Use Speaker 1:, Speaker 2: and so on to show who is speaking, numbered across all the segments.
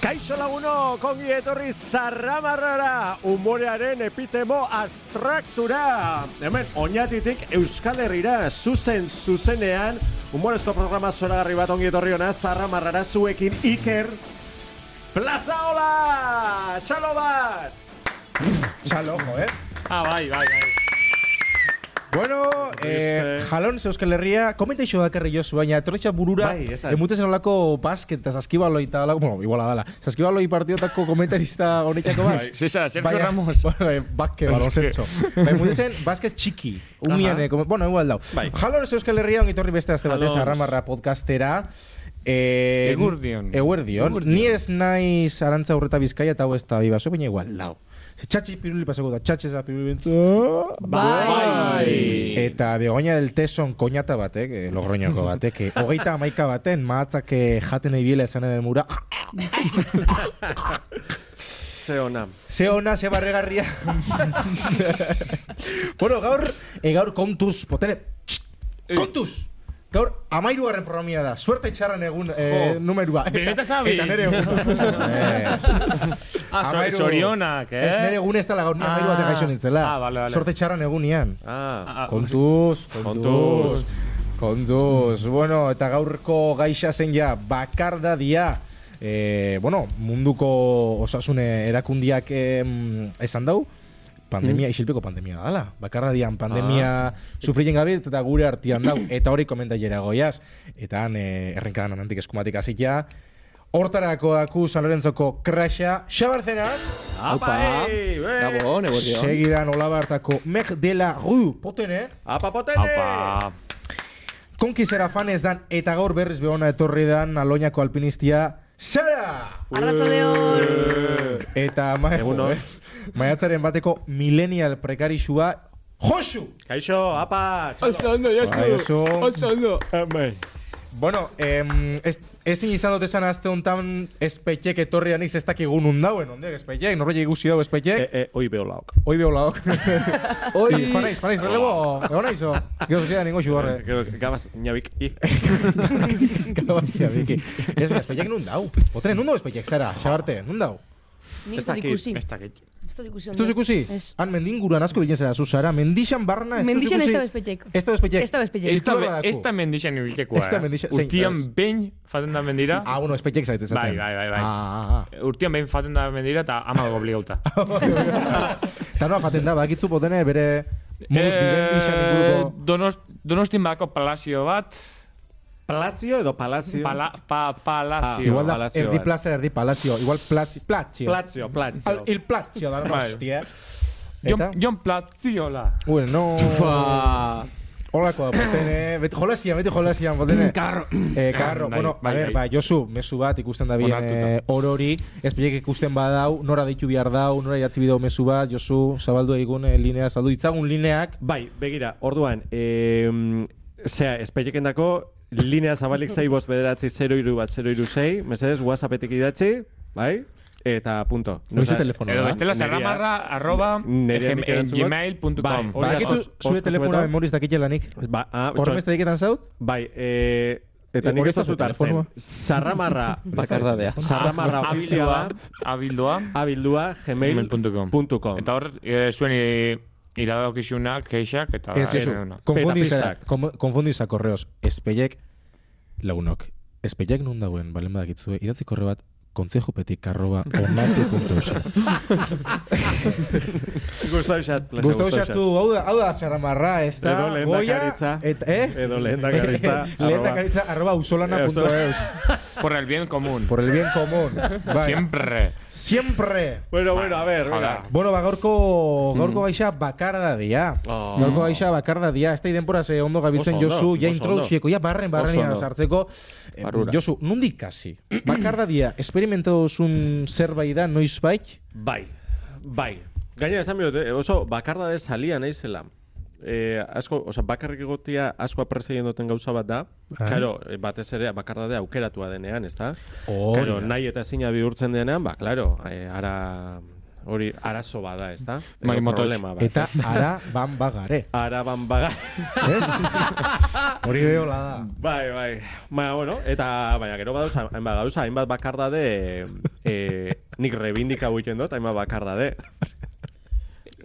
Speaker 1: Kaixo laguno, kongi etorri zarramarrara, umorearen epitemo astraktura. Hemen, oinatitik Euskal Herrira, zuzen zuzenean, umorezko programa zoragarri bat ongi etorri ona, zarramarrara zuekin Iker, Plazaola, txalo bat!
Speaker 2: Txalo, jo, eh?
Speaker 1: Ah, bai, bai, bai.
Speaker 2: Bueno, eh, jalon ze Euskal Herria, komenta iso dakarri jozu, baina etorretxa burura,
Speaker 1: Bai, esan.
Speaker 2: emutez nolako basket, eta saskibaloi eta olako, bueno, iguala dala, saskibaloi partiotako komentarista honetako baz.
Speaker 3: Bai, César, Sergio
Speaker 2: Baina-
Speaker 3: Ramos.
Speaker 2: Bueno, eh, basket, balonzetxo. Bai, emutez basket txiki, umian,
Speaker 3: Aha.
Speaker 2: eh, kom- bueno, igual dau.
Speaker 3: Bai.
Speaker 2: Jalon ze Euskal Herria, ongitorri beste azte batez,
Speaker 3: Jalons.
Speaker 2: arramarra podcastera. Eh,
Speaker 3: Eguerdion.
Speaker 2: Eguerdion.
Speaker 3: Eguerdion.
Speaker 2: Ni ez naiz arantza urreta bizkaia eta hau ez da bibaso, baina igual dau. Ze Txatxi piruli pasako da, txatxez da piruli bentzu.
Speaker 3: Bai.
Speaker 2: Eta Begoña del Teson koñata batek, eh, logroñoko batek, eh, hogeita amaika baten, mahatzak eh, jaten ibila esan ere mura.
Speaker 1: Ze ona.
Speaker 2: Ze ona, ze barregarria. bueno, gaur, eh, gaur kontuz, potene, txt, kontuz! Gaur, amairugarren programia da, suerte txarren egun eh,
Speaker 3: Jo,
Speaker 2: numerua.
Speaker 3: Beneta sabiz.
Speaker 2: Eta nere egun. Eh,
Speaker 3: Ah, so-
Speaker 2: amairu-
Speaker 3: sorionak, eh?
Speaker 2: Ez nere egun ez da gaur, ni
Speaker 3: Ah.
Speaker 2: amairu batek gaixo nintzela.
Speaker 3: Ah, vale, vale.
Speaker 2: Suerte txarren egunian.
Speaker 1: Ah,
Speaker 3: Ah,
Speaker 2: Kontuz, kontuz,
Speaker 3: Kontuz.
Speaker 2: kontuz. Bueno, eta gaurko gaixa zen ja, bakardadia. Eh, bueno, munduko osasune erakundiak em, esan dau, pandemia, isilpeko pandemia dala. Bakardadian pandemia sufrilen gabe eta gure artian dau. Eta hori komentaiera goiaz. Eta han, eh, errenkadan anantik eskumatik azikia. Hortarako daku San Lorenzoko krasha. Xabarzenak,
Speaker 4: ah,
Speaker 1: Apa, ei, ei.
Speaker 4: Gabon, eguerdion.
Speaker 2: segidan olabartako Meg de la Rue eh? potene.
Speaker 1: Apa potene!
Speaker 3: Apa.
Speaker 2: Konkizera fanez dan eta gaur berriz behona etorri dan aloñako alpinistia Sara!
Speaker 4: Arratsaldeon.
Speaker 2: Eta ma
Speaker 1: Egun on.
Speaker 2: joder, maiatzaren bateko millennial prekarixua Josu!
Speaker 1: Kaixo, apa!
Speaker 4: Oso ondo, Josu.
Speaker 2: Bai, Josu.
Speaker 4: Oso ondo.
Speaker 2: Bueno, em, ez, ezin izan dut esan azte honetan espeitek etorri aniz ez dakigun undauen, ondiek espeitek, norbait ikusi dau espeitek.
Speaker 1: Eh, eh, oi beo laok.
Speaker 2: Hoi beho laok.
Speaker 4: Oi.
Speaker 2: Fanaiz, fanaiz, relebo, egon aizo. Gero zuzia ningo
Speaker 1: Eh,
Speaker 2: xugarre.
Speaker 1: Gabaz, nabik, i.
Speaker 2: Gero bazkia, biki. Ez, espeitek nun dau. Otren, nun dau espeitek, Sara, xabarte, nun dau.
Speaker 5: Nik
Speaker 1: Ez
Speaker 5: ez dut
Speaker 1: dakit,
Speaker 5: ikusi.
Speaker 3: Ez dakit.
Speaker 5: Ez dut ikusi.
Speaker 2: Ez duz ikusi?
Speaker 5: Ez.
Speaker 2: Han mendinguran asko bilen zera, Susara. Mendixan barna ez duz ikusi?
Speaker 5: Mendixan ez da bezpetek.
Speaker 2: Ez da bezpeitek.
Speaker 5: Ez da bezpeitek.
Speaker 3: Ez
Speaker 2: Titularra
Speaker 3: da
Speaker 2: daku.
Speaker 3: ez da mendixan ibiltekoa.
Speaker 2: Ez da
Speaker 3: eh?
Speaker 2: mendixan- zein, ez?
Speaker 3: Urtian behin faten da mendira.
Speaker 2: Ah, bueno, bezpeitek zaitez.
Speaker 3: Bai, bai, bai, bai.
Speaker 2: Ah, ah,
Speaker 3: Urtian behin faten da mendira eta ama gobligauta.
Speaker 2: ah. Eta noa jaten da, bakitzu potene bere moduz
Speaker 3: Eh,
Speaker 2: bibendixan inguruko...
Speaker 3: Donost, donostin bako palazio bat.
Speaker 1: Palazio edo palazio?
Speaker 3: Pala, pa, palazio.
Speaker 2: Ah, Igual da,
Speaker 1: palazio
Speaker 2: erdi
Speaker 1: bat.
Speaker 2: plaza, erdi palazio. Igual platzi, platzio.
Speaker 1: Platzio, platzio.
Speaker 2: Al, il platzio da,
Speaker 3: Bai.
Speaker 2: hostia. Eta?
Speaker 3: Jon, Jon Platziola.
Speaker 2: Bueno,
Speaker 1: Ba,
Speaker 2: Holako da, potene. Beti jolasian, beti jolasian, potene.
Speaker 4: Karro.
Speaker 2: Eh, karro,
Speaker 3: Bai,
Speaker 2: bueno,
Speaker 3: bai,
Speaker 2: a ver,
Speaker 3: bai.
Speaker 2: ba, Josu, mezu bat ikusten da bien
Speaker 3: Onartuta.
Speaker 2: eh, hor hori, espilek ikusten badau, nora deitu bihar dau, nora idatzi bideo mezu bat, Josu, zabaldu egun eh, linea, zabaldu ditzagun lineak,
Speaker 1: Bai, begira, orduan, em, zea, espeieken dako, linea zabalik zei bost bederatzi 0 iru bat 0 iru zei, mesedez, whatsappetik idatzi, bai? Eta punto.
Speaker 2: noiz
Speaker 1: Nosa-
Speaker 2: telefono
Speaker 3: Edo
Speaker 2: da.
Speaker 3: bestela
Speaker 1: Nerea-
Speaker 3: zarramarra arroba
Speaker 1: Nerea
Speaker 3: gem-
Speaker 1: nik erantzun bat. Bai,
Speaker 3: gmail.com
Speaker 1: hori da.
Speaker 2: Bakitu,
Speaker 1: os-
Speaker 2: Ba, zure
Speaker 1: os-
Speaker 2: telefona
Speaker 1: zuetan.
Speaker 2: memoriz dakit lanik.
Speaker 1: Ba, ah,
Speaker 2: Horren beste diketan zaut?
Speaker 1: Bai, eh, eta
Speaker 2: Eh,
Speaker 1: nik
Speaker 2: hori
Speaker 1: ez
Speaker 2: ez da
Speaker 1: dut
Speaker 2: zure
Speaker 1: hartzen.
Speaker 2: telefonoa?
Speaker 1: Zarramarra,
Speaker 4: Bakardadea.
Speaker 1: zarramarra
Speaker 3: abildua,
Speaker 1: ofiziala,
Speaker 3: abildua,
Speaker 1: abildua gmail.com.
Speaker 3: gmail.com. Eta hor, eh, zuen i- iradadokizunak, keixak, eta...
Speaker 2: Ez, Josu,
Speaker 3: erona.
Speaker 2: konfundiza,
Speaker 1: Petapistak.
Speaker 2: kon- konfundiza korreos, espilek lagunok. Espilek nun dagoen, balen badakitzue, idatzi korre bat, kontzejupetik arroba onartu.eus.
Speaker 1: Gustavo Xat, plaza,
Speaker 2: Gustavo Xatzu, hau da, hau da, zaramarra, ez da,
Speaker 1: Edo lehendakaritza.
Speaker 2: et, eh?
Speaker 1: Edo lehendakaritza,
Speaker 2: lehendakaritza, arroba
Speaker 1: Eh,
Speaker 2: usolana.eus.
Speaker 3: Por el bien común.
Speaker 2: Por el bien común. Bai.
Speaker 3: Siempre.
Speaker 2: Siempre.
Speaker 1: Bueno, bueno, a ver,
Speaker 3: Joder.
Speaker 1: venga.
Speaker 2: Bueno, ba, gaurko,
Speaker 1: Mm.
Speaker 2: gaurko gaixa bakarda dia.
Speaker 1: Oh.
Speaker 2: Gaurko gaixa bakarda dia. Ez da denpora ze ondo gabiltzen
Speaker 1: Oso ondo,
Speaker 2: Josu, ja
Speaker 1: oso
Speaker 2: introduzieko, ja barren barrenian
Speaker 4: ondo.
Speaker 2: sartzeko. Eh,
Speaker 4: Barrura.
Speaker 2: Josu, nondik kasi? bakarda dia, esperimentatu duzun zerbait da, noizbait?
Speaker 1: Bai, bai. Gainera esan bihot, oso bakarda de salia naizela. Eh, asko, oza, bakarrik egotia asko aprezien duten gauza bat da.
Speaker 2: Ah.
Speaker 1: Claro, eh, batez ere bakarda de aukeratua denean, ez da?
Speaker 2: Hori
Speaker 1: Claro,
Speaker 2: da.
Speaker 1: nahi eta ezina bihurtzen denean, ba, claro, eh, ara Hori arazo bada, ez da? Edo
Speaker 3: Marimototx.
Speaker 1: problema bat.
Speaker 2: Eta ara ban bagare.
Speaker 1: Araban baga...
Speaker 2: Ez? Hori behola da.
Speaker 1: Bai, bai. Ba, bueno, eta baina gero badauz hainbat gauza, hainbat bakardade eh, nik rebindika buiten dut, hainbat bakardade.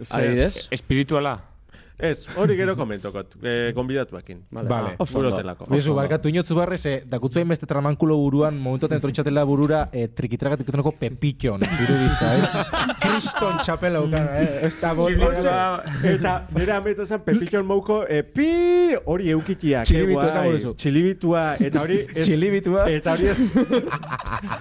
Speaker 1: Ze-
Speaker 4: Adibidez?
Speaker 3: Espirituala.
Speaker 1: Ez, hori gero komentokot, eh, konbidatuekin.
Speaker 2: Vale.
Speaker 4: Oso ondo.
Speaker 1: Burotelako.
Speaker 4: Oso
Speaker 2: Bizu,
Speaker 4: ondo.
Speaker 2: barkatu inotzu barrez, eh, dakutzu hainbeste tramankulo buruan, momentuaten etorritxatela burura, eh, trikitragatik etoneko pepitxon, diruditza, eh? Kriston txapela ukara, eh? Ez da boli.
Speaker 3: Txilgoza.
Speaker 1: Eta nire ametu zen Pepiton Mouko e, pi hori eukitiak.
Speaker 2: Txilibitua
Speaker 1: eh,
Speaker 2: esango
Speaker 1: guai.
Speaker 2: duzu.
Speaker 1: Txilibitua. Eta hori... ez-
Speaker 2: Txilibitua.
Speaker 1: Eta hori ez...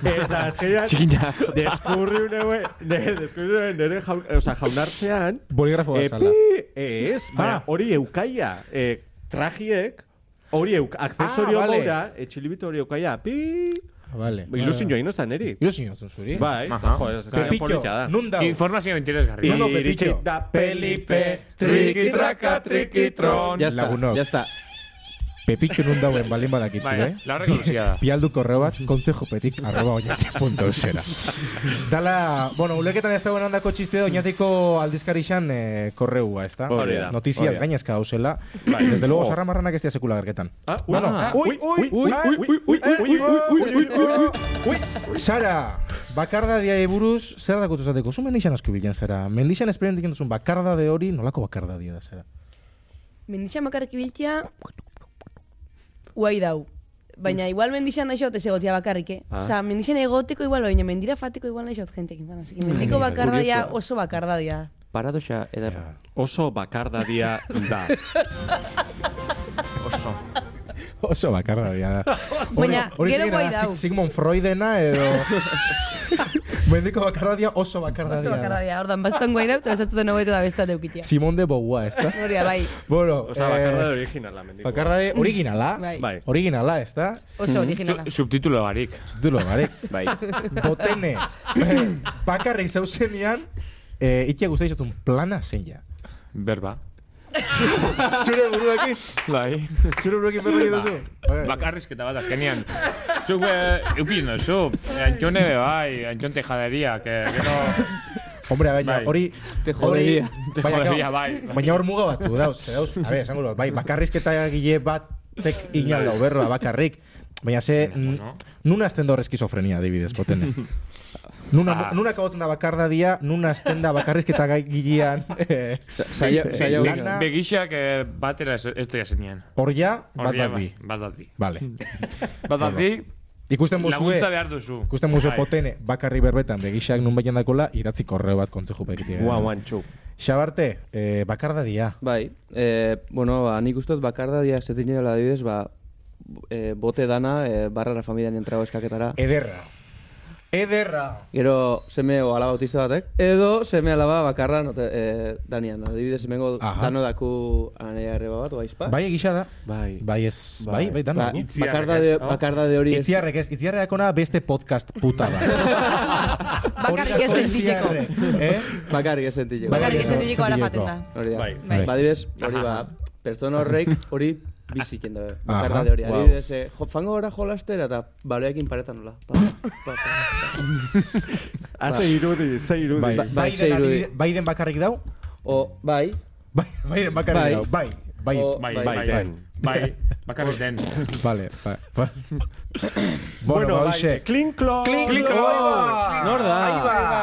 Speaker 1: eta azkenean...
Speaker 3: Txikina.
Speaker 1: Deskurri unue... Deskurri unue nire jaun, oza, jaunartzean...
Speaker 2: Boligrafo
Speaker 1: E,
Speaker 2: bezala.
Speaker 1: pi ez, baina
Speaker 2: Ah.
Speaker 1: hori eukaia. E, trajiek... Hori euk, akcesorio
Speaker 2: Ah,
Speaker 1: ah,
Speaker 2: vale.
Speaker 1: etxilibitu hori eukaia, pi...
Speaker 2: ah, Vale.
Speaker 1: Ilusin joa inozta neri.
Speaker 2: Ilusin joan zuri.
Speaker 1: Bai,
Speaker 3: Aha.
Speaker 1: eta jo, ez da
Speaker 2: Pepitxo,
Speaker 1: politia eh, da.
Speaker 2: nun dau?
Speaker 3: Informazio interesgarri.
Speaker 2: I- Ondo, Pepillo.
Speaker 1: Iritsi da Pelipe, trikitraka, trikitron.
Speaker 4: Ya está,
Speaker 2: Lagunok.
Speaker 4: ya está.
Speaker 2: Pepitxo nun dauen balin badakitzu,
Speaker 3: Bai,
Speaker 2: eh?
Speaker 3: la reconocida da.
Speaker 2: Pialdu korreo bat, kontzejopetik arroba oinatik.eusera. Dala, bueno, uleketan ez dagoen handako txiste da oinatiko aldizkarixan eh, korreua, ez da?
Speaker 1: Hori da.
Speaker 2: Notiziaz
Speaker 1: Hori da.
Speaker 2: gainezka hausela.
Speaker 1: Bai.
Speaker 2: Desde luego,
Speaker 1: Oh.
Speaker 2: sarra marranak ez diazekula gerketan.
Speaker 1: Ah, uy,
Speaker 3: Ah.
Speaker 1: uy, uy, uy, uy, uy, uy, uy, uy, uy, uy, uy.
Speaker 2: Sara, bakardadiari buruz, zer dakutu zateko? Zu mendixan asko bilan, Sara. Mendixan esperientik duzun bakardade hori, nolako bakardadia da, Sara?
Speaker 5: Mendixan bakarrik ibiltia guai dau. Baina igual mendixan naixot ez egotia bakarrik, eh?
Speaker 1: Ah.
Speaker 5: Osa, mendixan egoteko igual, baina mendira fateko igual naixot jentekin. Baina, así que mendiko
Speaker 4: Mira,
Speaker 5: bakardadia
Speaker 4: kuriosoa.
Speaker 5: oso bakardadia.
Speaker 4: Paradoxa ederra.
Speaker 1: Oso bakardadia da.
Speaker 3: Oso.
Speaker 2: Oso bakardadia da.
Speaker 5: Baina,
Speaker 2: Hori zikera
Speaker 5: gero guai
Speaker 2: da,
Speaker 5: dau.
Speaker 2: Sig- Sigmund Freudena edo... Mendiko bakardadia oso bakardadia.
Speaker 5: Oso
Speaker 2: da.
Speaker 5: bakardadia. Ordan, baston guai dau, eta bezatzen hobetu da bestat eukitia.
Speaker 2: Simón de Beauvoir, ez da?
Speaker 5: Horia, bai,
Speaker 2: Bueno,
Speaker 1: Osa, bakardade
Speaker 2: Eh,
Speaker 1: originala, mendiko.
Speaker 2: bakardade originala.
Speaker 5: bai.
Speaker 1: Bai.
Speaker 2: Originala, ez da?
Speaker 5: Oso originala.
Speaker 3: Su- Subtitulo barik.
Speaker 2: Dulo, barek.
Speaker 4: Bai.
Speaker 2: Botene. Bakarrik zeuzenean, eh, ikia guztia izatun plana zein ja.
Speaker 3: Berba.
Speaker 2: Zure buruakin,
Speaker 3: Bai.
Speaker 2: zure buruakin berro duzu. Bai.
Speaker 3: Bakarrizketa bat azkenean. Zuk, eh, eukin duzu. Antxone be bai, antxon tejaderia, que gero...
Speaker 2: Hombre, baina
Speaker 3: Bai.
Speaker 2: hori...
Speaker 4: Te
Speaker 2: hori-
Speaker 4: jodería.
Speaker 3: Te
Speaker 2: baina,
Speaker 3: jodería,
Speaker 2: claro,
Speaker 3: bai.
Speaker 2: Baina hor muga batzu, dauz, ze dauz. A ver, esango dut, bai, bakarrizketa gile bat tek inan dau berroa bakarrik. Baina ze, n-
Speaker 3: Bueno.
Speaker 2: nuna azten da hor eskizofrenia, adibidez, botene. Nuna,
Speaker 3: Ah.
Speaker 2: nuna kagoten da bakardadia, nuna azten da bakarrizketa gai gilean. eh,
Speaker 4: Saio,
Speaker 2: eh,
Speaker 4: saio.
Speaker 2: lana,
Speaker 3: Begixak eh, batera ez ez dira zenean.
Speaker 2: Hor ja, bat
Speaker 3: Horria
Speaker 2: bat bi.
Speaker 3: Bat bat bi.
Speaker 2: Vale.
Speaker 3: Bat bat bi,
Speaker 2: Ikusten mozue,
Speaker 3: laguntza behar duzu.
Speaker 2: ikusten mozue
Speaker 3: Bai.
Speaker 2: potene, bakarri berbetan begixak nun baian dakola, idatzi korreo bat kontzeju pekitik.
Speaker 1: Guau, guantxu.
Speaker 2: Xabarte, eh, bakardadia.
Speaker 4: Bai, eh, bueno, ba, nik uste dut bakardadia zetin dela adibidez, ba, eh, bote dana, eh, barrara familian entrago eskaketara.
Speaker 2: Ederra. Ederra.
Speaker 4: Gero seme o alaba autista batek, edo seme alaba bakarra note, eh, danian. Adibidez, hemengo
Speaker 2: Aha.
Speaker 4: dano daku anea arreba bat, oaizpa.
Speaker 2: Bai egisa da.
Speaker 1: Bai.
Speaker 2: Bai ez,
Speaker 1: Bai.
Speaker 2: bai, bai, dan.
Speaker 4: ba,
Speaker 2: dago.
Speaker 3: itziarrek
Speaker 4: bakardade,
Speaker 3: ez, no?
Speaker 4: bakardade hori ez.
Speaker 2: Itziarrek ez, itziarreak ona beste podcast puta da.
Speaker 5: Bakarrik ez sentiteko.
Speaker 2: Itziarrek, Eh?
Speaker 4: Bakarrik ez
Speaker 2: Bakarrik
Speaker 4: sentilleko.
Speaker 5: Bakarrik ez sentiteko
Speaker 2: Sentiteko.
Speaker 5: arapaten da.
Speaker 4: Hori da.
Speaker 1: Bai.
Speaker 5: Bai.
Speaker 4: Ba, adibidez, hori ba, pertsona horrek hori biziken da. Bakarra hori.
Speaker 2: Wow.
Speaker 4: Adibidez, eh, jo, fango gora jolastera eta baloekin paretan nola. Pa, pa, pa.
Speaker 1: Haze irudi, ze irudi.
Speaker 2: Bai,
Speaker 4: bai,
Speaker 2: bai,
Speaker 4: ze irudi.
Speaker 2: bai, den bakarrik dau?
Speaker 4: O, bai,
Speaker 2: Bai, bai, den bakarrik
Speaker 4: Bai.
Speaker 2: dau. Bai, bai.
Speaker 4: O-
Speaker 3: Bai,
Speaker 4: Bai,
Speaker 3: bai,
Speaker 1: bai.
Speaker 3: bai. Bai, bakarrik den.
Speaker 2: Vale, bai. bai.
Speaker 1: Bueno,
Speaker 2: ba,
Speaker 1: bai,
Speaker 2: hoxe.
Speaker 1: klinklo.
Speaker 3: Klinklo.
Speaker 4: Nor da?
Speaker 2: Ahí va.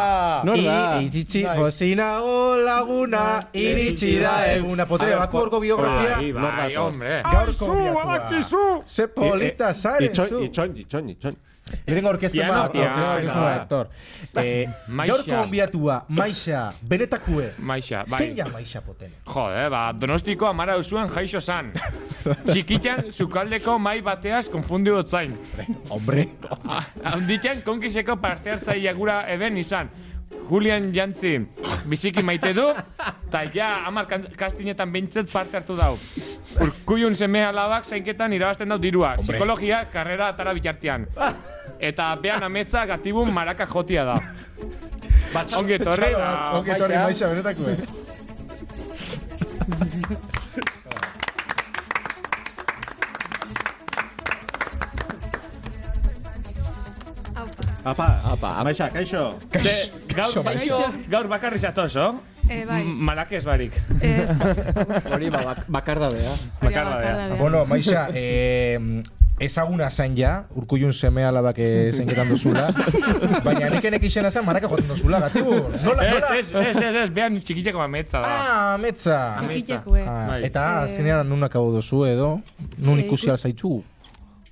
Speaker 4: Nor da?
Speaker 2: I- Iritsi, bozina o laguna, iritsi da eguna. Potere, bakurko biografia.
Speaker 3: Bai, bai, hombre.
Speaker 2: Gaurko biatua. Ze
Speaker 3: Eh,
Speaker 2: polita zaren,
Speaker 1: Itxon,
Speaker 2: zu.
Speaker 1: itxon, itxon, itxon.
Speaker 2: Lehenengo aurkezpen
Speaker 3: Piano,
Speaker 2: bat,
Speaker 3: piano,
Speaker 2: aurkezpen
Speaker 3: piano.
Speaker 2: bat, Tor. Eh,
Speaker 3: Maixa.
Speaker 2: Gaurko gonbiatua, Maixa, benetakue.
Speaker 3: Maixa, bai.
Speaker 2: Zein ja Maixa potene?
Speaker 3: Jode, ba, donostiko amara duzuen jaixo zan. Txikitan, zukaldeko mai bateaz konfundi dut zain.
Speaker 2: Hombre.
Speaker 3: Haunditan, konkiseko parte hartzailea gura eben izan. Julian Jantzi biziki maite du, eta ja amar kan- kastinetan bintzet parte hartu dau. Urkuiun seme alabak zainketan irabazten dau dirua, psikologia karrera atara bitartean. Eta bean ametza gatibun maraka jotia da. Ba, Ongi etorri, da.
Speaker 2: Ongi etorri, Maixa, benetakue.
Speaker 1: Apa,
Speaker 4: Apa, apa.
Speaker 1: Maixa, kaixo.
Speaker 3: Ze, gaur,
Speaker 5: Kaixo.
Speaker 3: gaur bakarri zatoz, oh?
Speaker 6: Eh, bai.
Speaker 3: M- Malak ez barik.
Speaker 6: Eh, ez da, ez da.
Speaker 4: Hori ba, bak, eh. bakardadea.
Speaker 3: Bakardadea.
Speaker 2: Bueno, Maixa, eh, ezaguna zen ja, urkullun seme alabak eh, zenketan duzula. Baina nik enek izena zen maraka joten duzula, gatibu. Nola,
Speaker 3: Ez,
Speaker 2: nola?
Speaker 3: ez, ez, ez, ez, behan txikiteko mametza da.
Speaker 2: Ah, metza.
Speaker 6: Txikitxakue.
Speaker 2: Ah,
Speaker 3: Bai.
Speaker 2: eta
Speaker 6: Eh,
Speaker 2: azkenean nun akabo duzu edo, nun
Speaker 6: eh,
Speaker 2: ikusi
Speaker 6: iku-
Speaker 2: alzaitzu.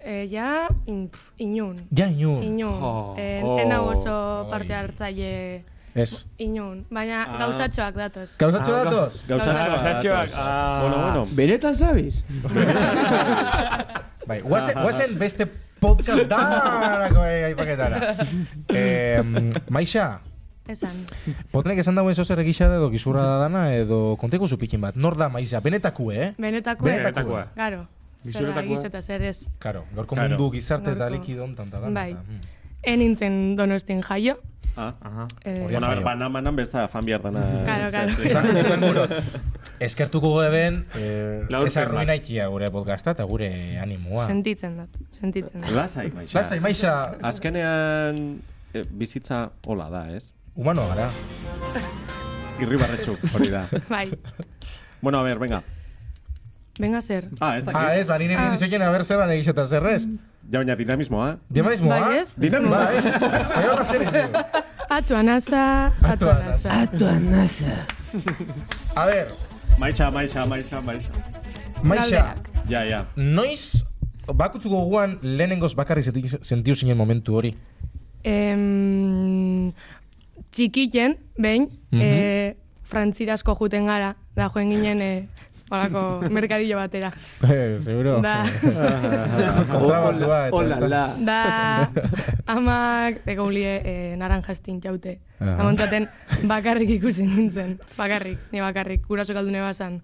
Speaker 6: Eh, ja, in, pf, inun.
Speaker 2: Ja, inun.
Speaker 6: Inun.
Speaker 4: Oh.
Speaker 6: Eh,
Speaker 4: Oh.
Speaker 6: ena oso
Speaker 2: Bai.
Speaker 6: parte hartzaile
Speaker 2: Ez.
Speaker 6: inun. Baina gauzatxoak datoz.
Speaker 2: Gauzatxo datoz?
Speaker 1: Gauzatxoak.
Speaker 3: Gauzatxoak, ah.
Speaker 1: Bueno, bueno.
Speaker 4: Benetan zabiz?
Speaker 2: Bai, guazen, guazen beste podcast darako eh, aipaketara. Eh, Maixa,
Speaker 6: Esan.
Speaker 2: Potrenek esan dauen zozer egisa edo gizurra da dana edo konteko zupikin bat. Nor da maiza, benetakue, eh?
Speaker 6: Benetakoa.
Speaker 3: Benetakoa.
Speaker 6: Garo. Zer
Speaker 3: Bizurretakoa.
Speaker 6: egiz eta zer ez.
Speaker 2: Karo, gaurko
Speaker 1: Claro.
Speaker 2: mundu gizarte eta
Speaker 6: Gaurko.
Speaker 2: likido hontan da dana.
Speaker 6: Bai.
Speaker 2: eta, mm.
Speaker 6: En nintzen donostin jaio.
Speaker 1: Ah.
Speaker 6: Eh,
Speaker 2: Hori
Speaker 1: Bueno, a ver,
Speaker 2: Jaio.
Speaker 1: banan, banan besta fan behar dana.
Speaker 6: Claro, claro.
Speaker 2: Esan, esan guro. Eskertuko goeben, eh,
Speaker 3: Laurpen
Speaker 2: ez
Speaker 3: bat.
Speaker 2: arruinaikia gure podcasta eta gure animoa.
Speaker 6: sentitzen dut. Sentitzen dut.
Speaker 1: Lasai, Maixa.
Speaker 2: Lasai, maiza,
Speaker 1: Azkenean eh, bizitza hola da, ez?
Speaker 2: humano gara.
Speaker 1: Irribarretxu, hori da.
Speaker 6: Bai.
Speaker 1: bueno, a ver, venga.
Speaker 6: Venga zer.
Speaker 1: Ah, ez dakit.
Speaker 2: Ah, ez, barinen ah.
Speaker 6: Ah.
Speaker 2: inizoien haber zer dan egisa eta zerrez.
Speaker 1: Ja, baina ah. dinamismoa.
Speaker 6: Mm,
Speaker 2: Dinamismoa?
Speaker 6: Bai, ez?
Speaker 1: Dinamismoa.
Speaker 2: Bai, bai, horra zer ditu.
Speaker 6: Atuan aza, atuan
Speaker 2: Atuan
Speaker 6: aza.
Speaker 2: A ber,
Speaker 1: Maixa, maixa, maixa, maixa.
Speaker 2: maiza,
Speaker 6: Galderak.
Speaker 1: Ja, ja.
Speaker 2: noiz bakutzuko guan lehenengoz bakarri senti- sentiu zinen momentu hori?
Speaker 6: Em, txikiten, behin, mm
Speaker 2: Mhm.
Speaker 6: frantzirasko juten gara, da joen ginen eh, holako merkadillo batera.
Speaker 2: Eh, seguro.
Speaker 6: Da,
Speaker 4: eh.
Speaker 2: Kontrabandua eta ez da.
Speaker 4: Olala.
Speaker 6: da amak dekaulie eh, naranjastin jaute.
Speaker 2: Aha.
Speaker 6: Amontzaten bakarrik ikusi nintzen, bakarrik, ni bakarrik, guraso galdune bazan.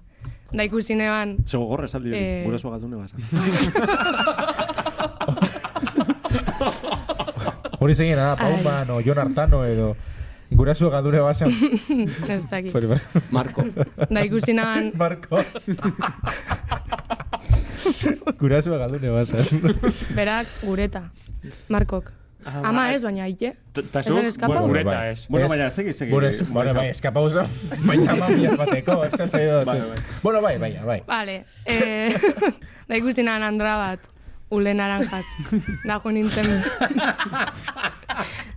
Speaker 6: Da ikusi neban,
Speaker 1: Sego gorra esaldi hori,
Speaker 6: Eh.
Speaker 1: gurasoa galdune basa.
Speaker 2: Hori zein da,
Speaker 6: Ai.
Speaker 2: Pauman o ah, Jon Artano edo guraso gadure basen.
Speaker 6: ez dakit.
Speaker 2: Hori bai.
Speaker 4: Marko.
Speaker 6: Da ikusi neban,
Speaker 2: Marko. guraso gadure basen.
Speaker 6: berak gureta, Markok. Ama ez, baina aite.
Speaker 3: bai. Ta
Speaker 6: Esan eskapa?
Speaker 2: Bueno,
Speaker 3: Bueno, gureta
Speaker 2: bai.
Speaker 3: ez.
Speaker 1: Bueno,
Speaker 2: Ez.
Speaker 1: baina, segi, segi.
Speaker 2: Bueno, es, bueno, bai, escapamos da. Baina mamia bateko, ez pedo.
Speaker 1: Bai, bai.
Speaker 2: Bueno, bai, bai, bai.
Speaker 6: Vale, eh, da ikusi nahan andra bat, ule naranjaz, da jo nintzen.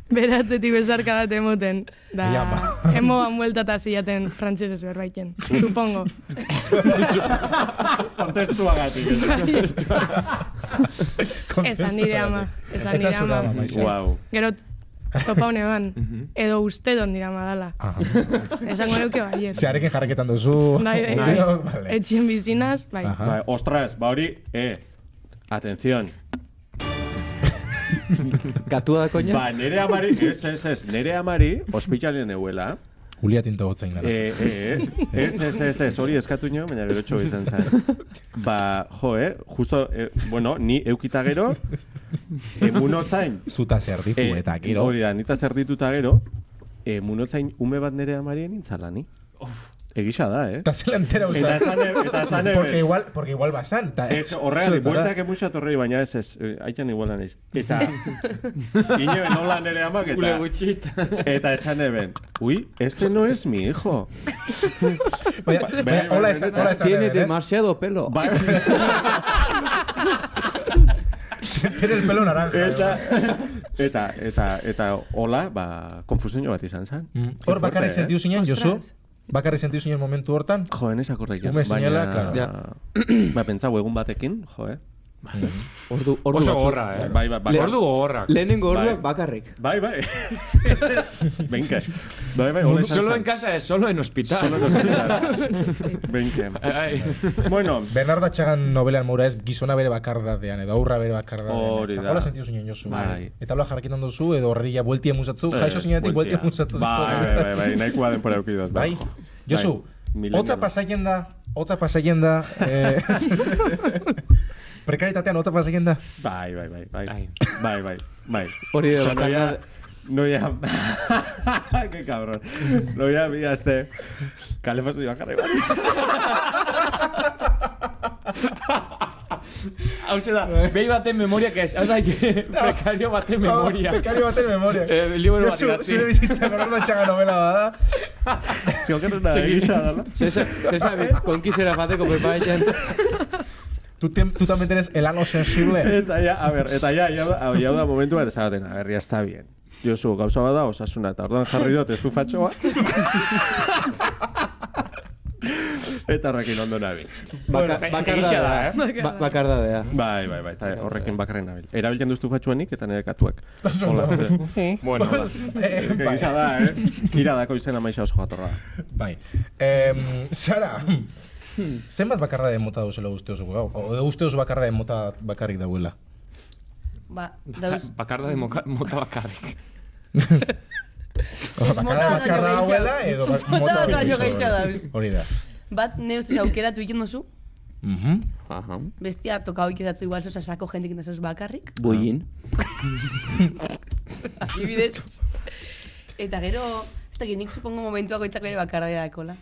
Speaker 6: Beratzetik besarka bat emoten, da
Speaker 2: Ia, ba.
Speaker 6: emoan bueltata ziaten frantzesez berbaiten, supongo.
Speaker 1: Kontestua gatik.
Speaker 6: Esan nire ama, esan
Speaker 2: Eta
Speaker 6: nire
Speaker 2: zure
Speaker 6: ama.
Speaker 2: ama,
Speaker 6: Ez.
Speaker 2: maixa.
Speaker 1: Guau.
Speaker 6: Gero topa honeban,
Speaker 2: Mhm.
Speaker 6: edo uste don dira madala.
Speaker 2: Aha.
Speaker 6: Esango neuke baiet.
Speaker 2: Zearekin jarraketan duzu.
Speaker 6: Bai, bai,
Speaker 2: Biok,
Speaker 6: bai.
Speaker 2: vale.
Speaker 6: Etxien bizinaz, bai.
Speaker 2: Aha.
Speaker 1: Bai, ostras, ba hori, eh. Atención.
Speaker 4: Katua da koña?
Speaker 1: Ba, nere amari, ez, ez, ez, nere amari, ospitalen euela.
Speaker 2: Julia tinto gotzen gara.
Speaker 1: Eh, eh, eh, ez, ez, ez, ez, hori eskatu nio, baina gero txo izan zen. Ba, jo, eh, justo, eh, bueno, ni eukita gero, emunotzain,
Speaker 2: Zuta zer ditu
Speaker 1: eh,
Speaker 2: eta gero.
Speaker 1: hori da, nita zer dituta gero, emunotzain ume bat nere amari nintzala, ni. Egisa da, eh?
Speaker 2: Eta zela entera usa.
Speaker 1: Eta esan, e- eta esan, e-
Speaker 2: Porque igual, porque igual basan. Ta,
Speaker 1: Ez, horrean, bueltak emuxa torrei, baina ez, ez, eh, aitan igualan ez. Eta, inoen nola nere amak,
Speaker 4: Ule
Speaker 1: eta,
Speaker 4: gutxit.
Speaker 1: eta esan eben, ui, este no es mi hijo. Bai, bai,
Speaker 2: Hola
Speaker 1: bai,
Speaker 2: esan,
Speaker 1: bai.
Speaker 2: hola esan.
Speaker 4: Tiene
Speaker 2: eben, ez?
Speaker 4: demasiado pelo.
Speaker 1: Bai,
Speaker 2: Tiene el pelo naranja.
Speaker 1: eta, eta, eta, eta, hola, ba, konfusioño bat izan zen.
Speaker 2: Mm. Hor bakarrik
Speaker 6: ¿eh?
Speaker 2: sentiu zinen, Josu? Bakarrik sentiu zinen momentu hortan?
Speaker 1: Joen ez akorde
Speaker 2: Ume zinela, claro.
Speaker 1: Ba, pentsau egun batekin, jo, eh?
Speaker 4: Ordu, ordu
Speaker 3: Oso
Speaker 4: batzuk.
Speaker 3: gorra, eh.
Speaker 1: Bai, bai, bai.
Speaker 4: Le-
Speaker 3: Ordu gorra.
Speaker 4: Lehenengo orduak
Speaker 1: Bai.
Speaker 4: bakarrik.
Speaker 1: Bai, bai. Benke. Bai, bai, hola izan
Speaker 3: Solo
Speaker 1: zen.
Speaker 3: en casa es, solo en hospital.
Speaker 1: Solo en hospital. Benke.
Speaker 3: Ai,
Speaker 1: Bueno,
Speaker 2: Bernarda Txagan novelan mura ez gizona bere bakardadean, edo aurra bere bakardadean.
Speaker 1: Hori
Speaker 2: ezta?
Speaker 1: da.
Speaker 2: Hola sentiu zinen, Josu?
Speaker 1: Bai.
Speaker 2: Eta hola jarrakitan duzu, edo horreia bueltia musatzu, jaixo zinenetik bueltia musatzu.
Speaker 1: Eh, Bai, bai, bai, bai, nahikoa denpora eukidot.
Speaker 2: Bai. Josu,
Speaker 1: Bai,
Speaker 2: hotza
Speaker 1: milenio.
Speaker 2: pasaien da, hotza pasaien da, eh, prekaritatean hotza pasaien da.
Speaker 1: Bai, bai, bai, bai.
Speaker 3: Ai.
Speaker 1: Bai, bai, bai.
Speaker 4: Hori da,
Speaker 1: Osea,
Speaker 4: bakarra-
Speaker 1: noia- Noia... Qué cabrón. Noia bi aste... Kale pasu joan jarri bat.
Speaker 3: Hau da, behi baten memoriak ez. Hau da, prekario baten memoria.
Speaker 2: Bekario Oh, baten memoria.
Speaker 3: Eh, liburu bat
Speaker 2: Zu-
Speaker 3: idatzi.
Speaker 2: Zure bizitza gordo txaga novela bada.
Speaker 1: Ziokerren da, egisa dala.
Speaker 4: Zesa, zesa, konkizera bateko preparetan.
Speaker 2: Tú, te- tú también tienes el ano sensible.
Speaker 1: Eta ja, a ber, eta ja, ja, da- ja da momentu bat esaten, a ber, ya está bien. Josu, gauza bada osasuna, eta orduan jarri dut ez du fatxoa. eta horrekin ondo nabil.
Speaker 4: Baka,
Speaker 3: Bueno,
Speaker 4: bakarda
Speaker 3: egia da,
Speaker 4: da,
Speaker 3: eh?
Speaker 4: Ba, bakarda da.
Speaker 1: Bai, bai, bai, eta horrekin bakarren nabil. Erabiltzen duztu fatxuanik eta nire katuak. Hola,
Speaker 3: Bueno, da.
Speaker 2: Eh, bai.
Speaker 1: Egisa da, eh? Kira dako izena maixa oso jatorra.
Speaker 2: Bai. Em, Sara, zenbat bakarra de mota duzela uste oso gau? O uste oso bakarra de mota bakarrik dauela?
Speaker 5: Ba, dauz...
Speaker 3: Bakarda de moka, mota bakarrik.
Speaker 2: Osa,
Speaker 5: Ez, mota bat baino gehiago.
Speaker 2: dauela edo ba-
Speaker 5: Mota bat
Speaker 2: hori
Speaker 5: baino
Speaker 2: gehiago.
Speaker 5: gehiago dauz.
Speaker 2: Hori da.
Speaker 5: Bat, ne ustez aukeratu ikin duzu,
Speaker 2: Mhm.
Speaker 4: Aha.
Speaker 5: bestia toka hoik edatzu igual zosa sako jentik eta zoz bakarrik,
Speaker 4: Buin.
Speaker 5: adibidez. Eta gero, ez dakit nik supongo momentuako itzak bere bakardea dakola.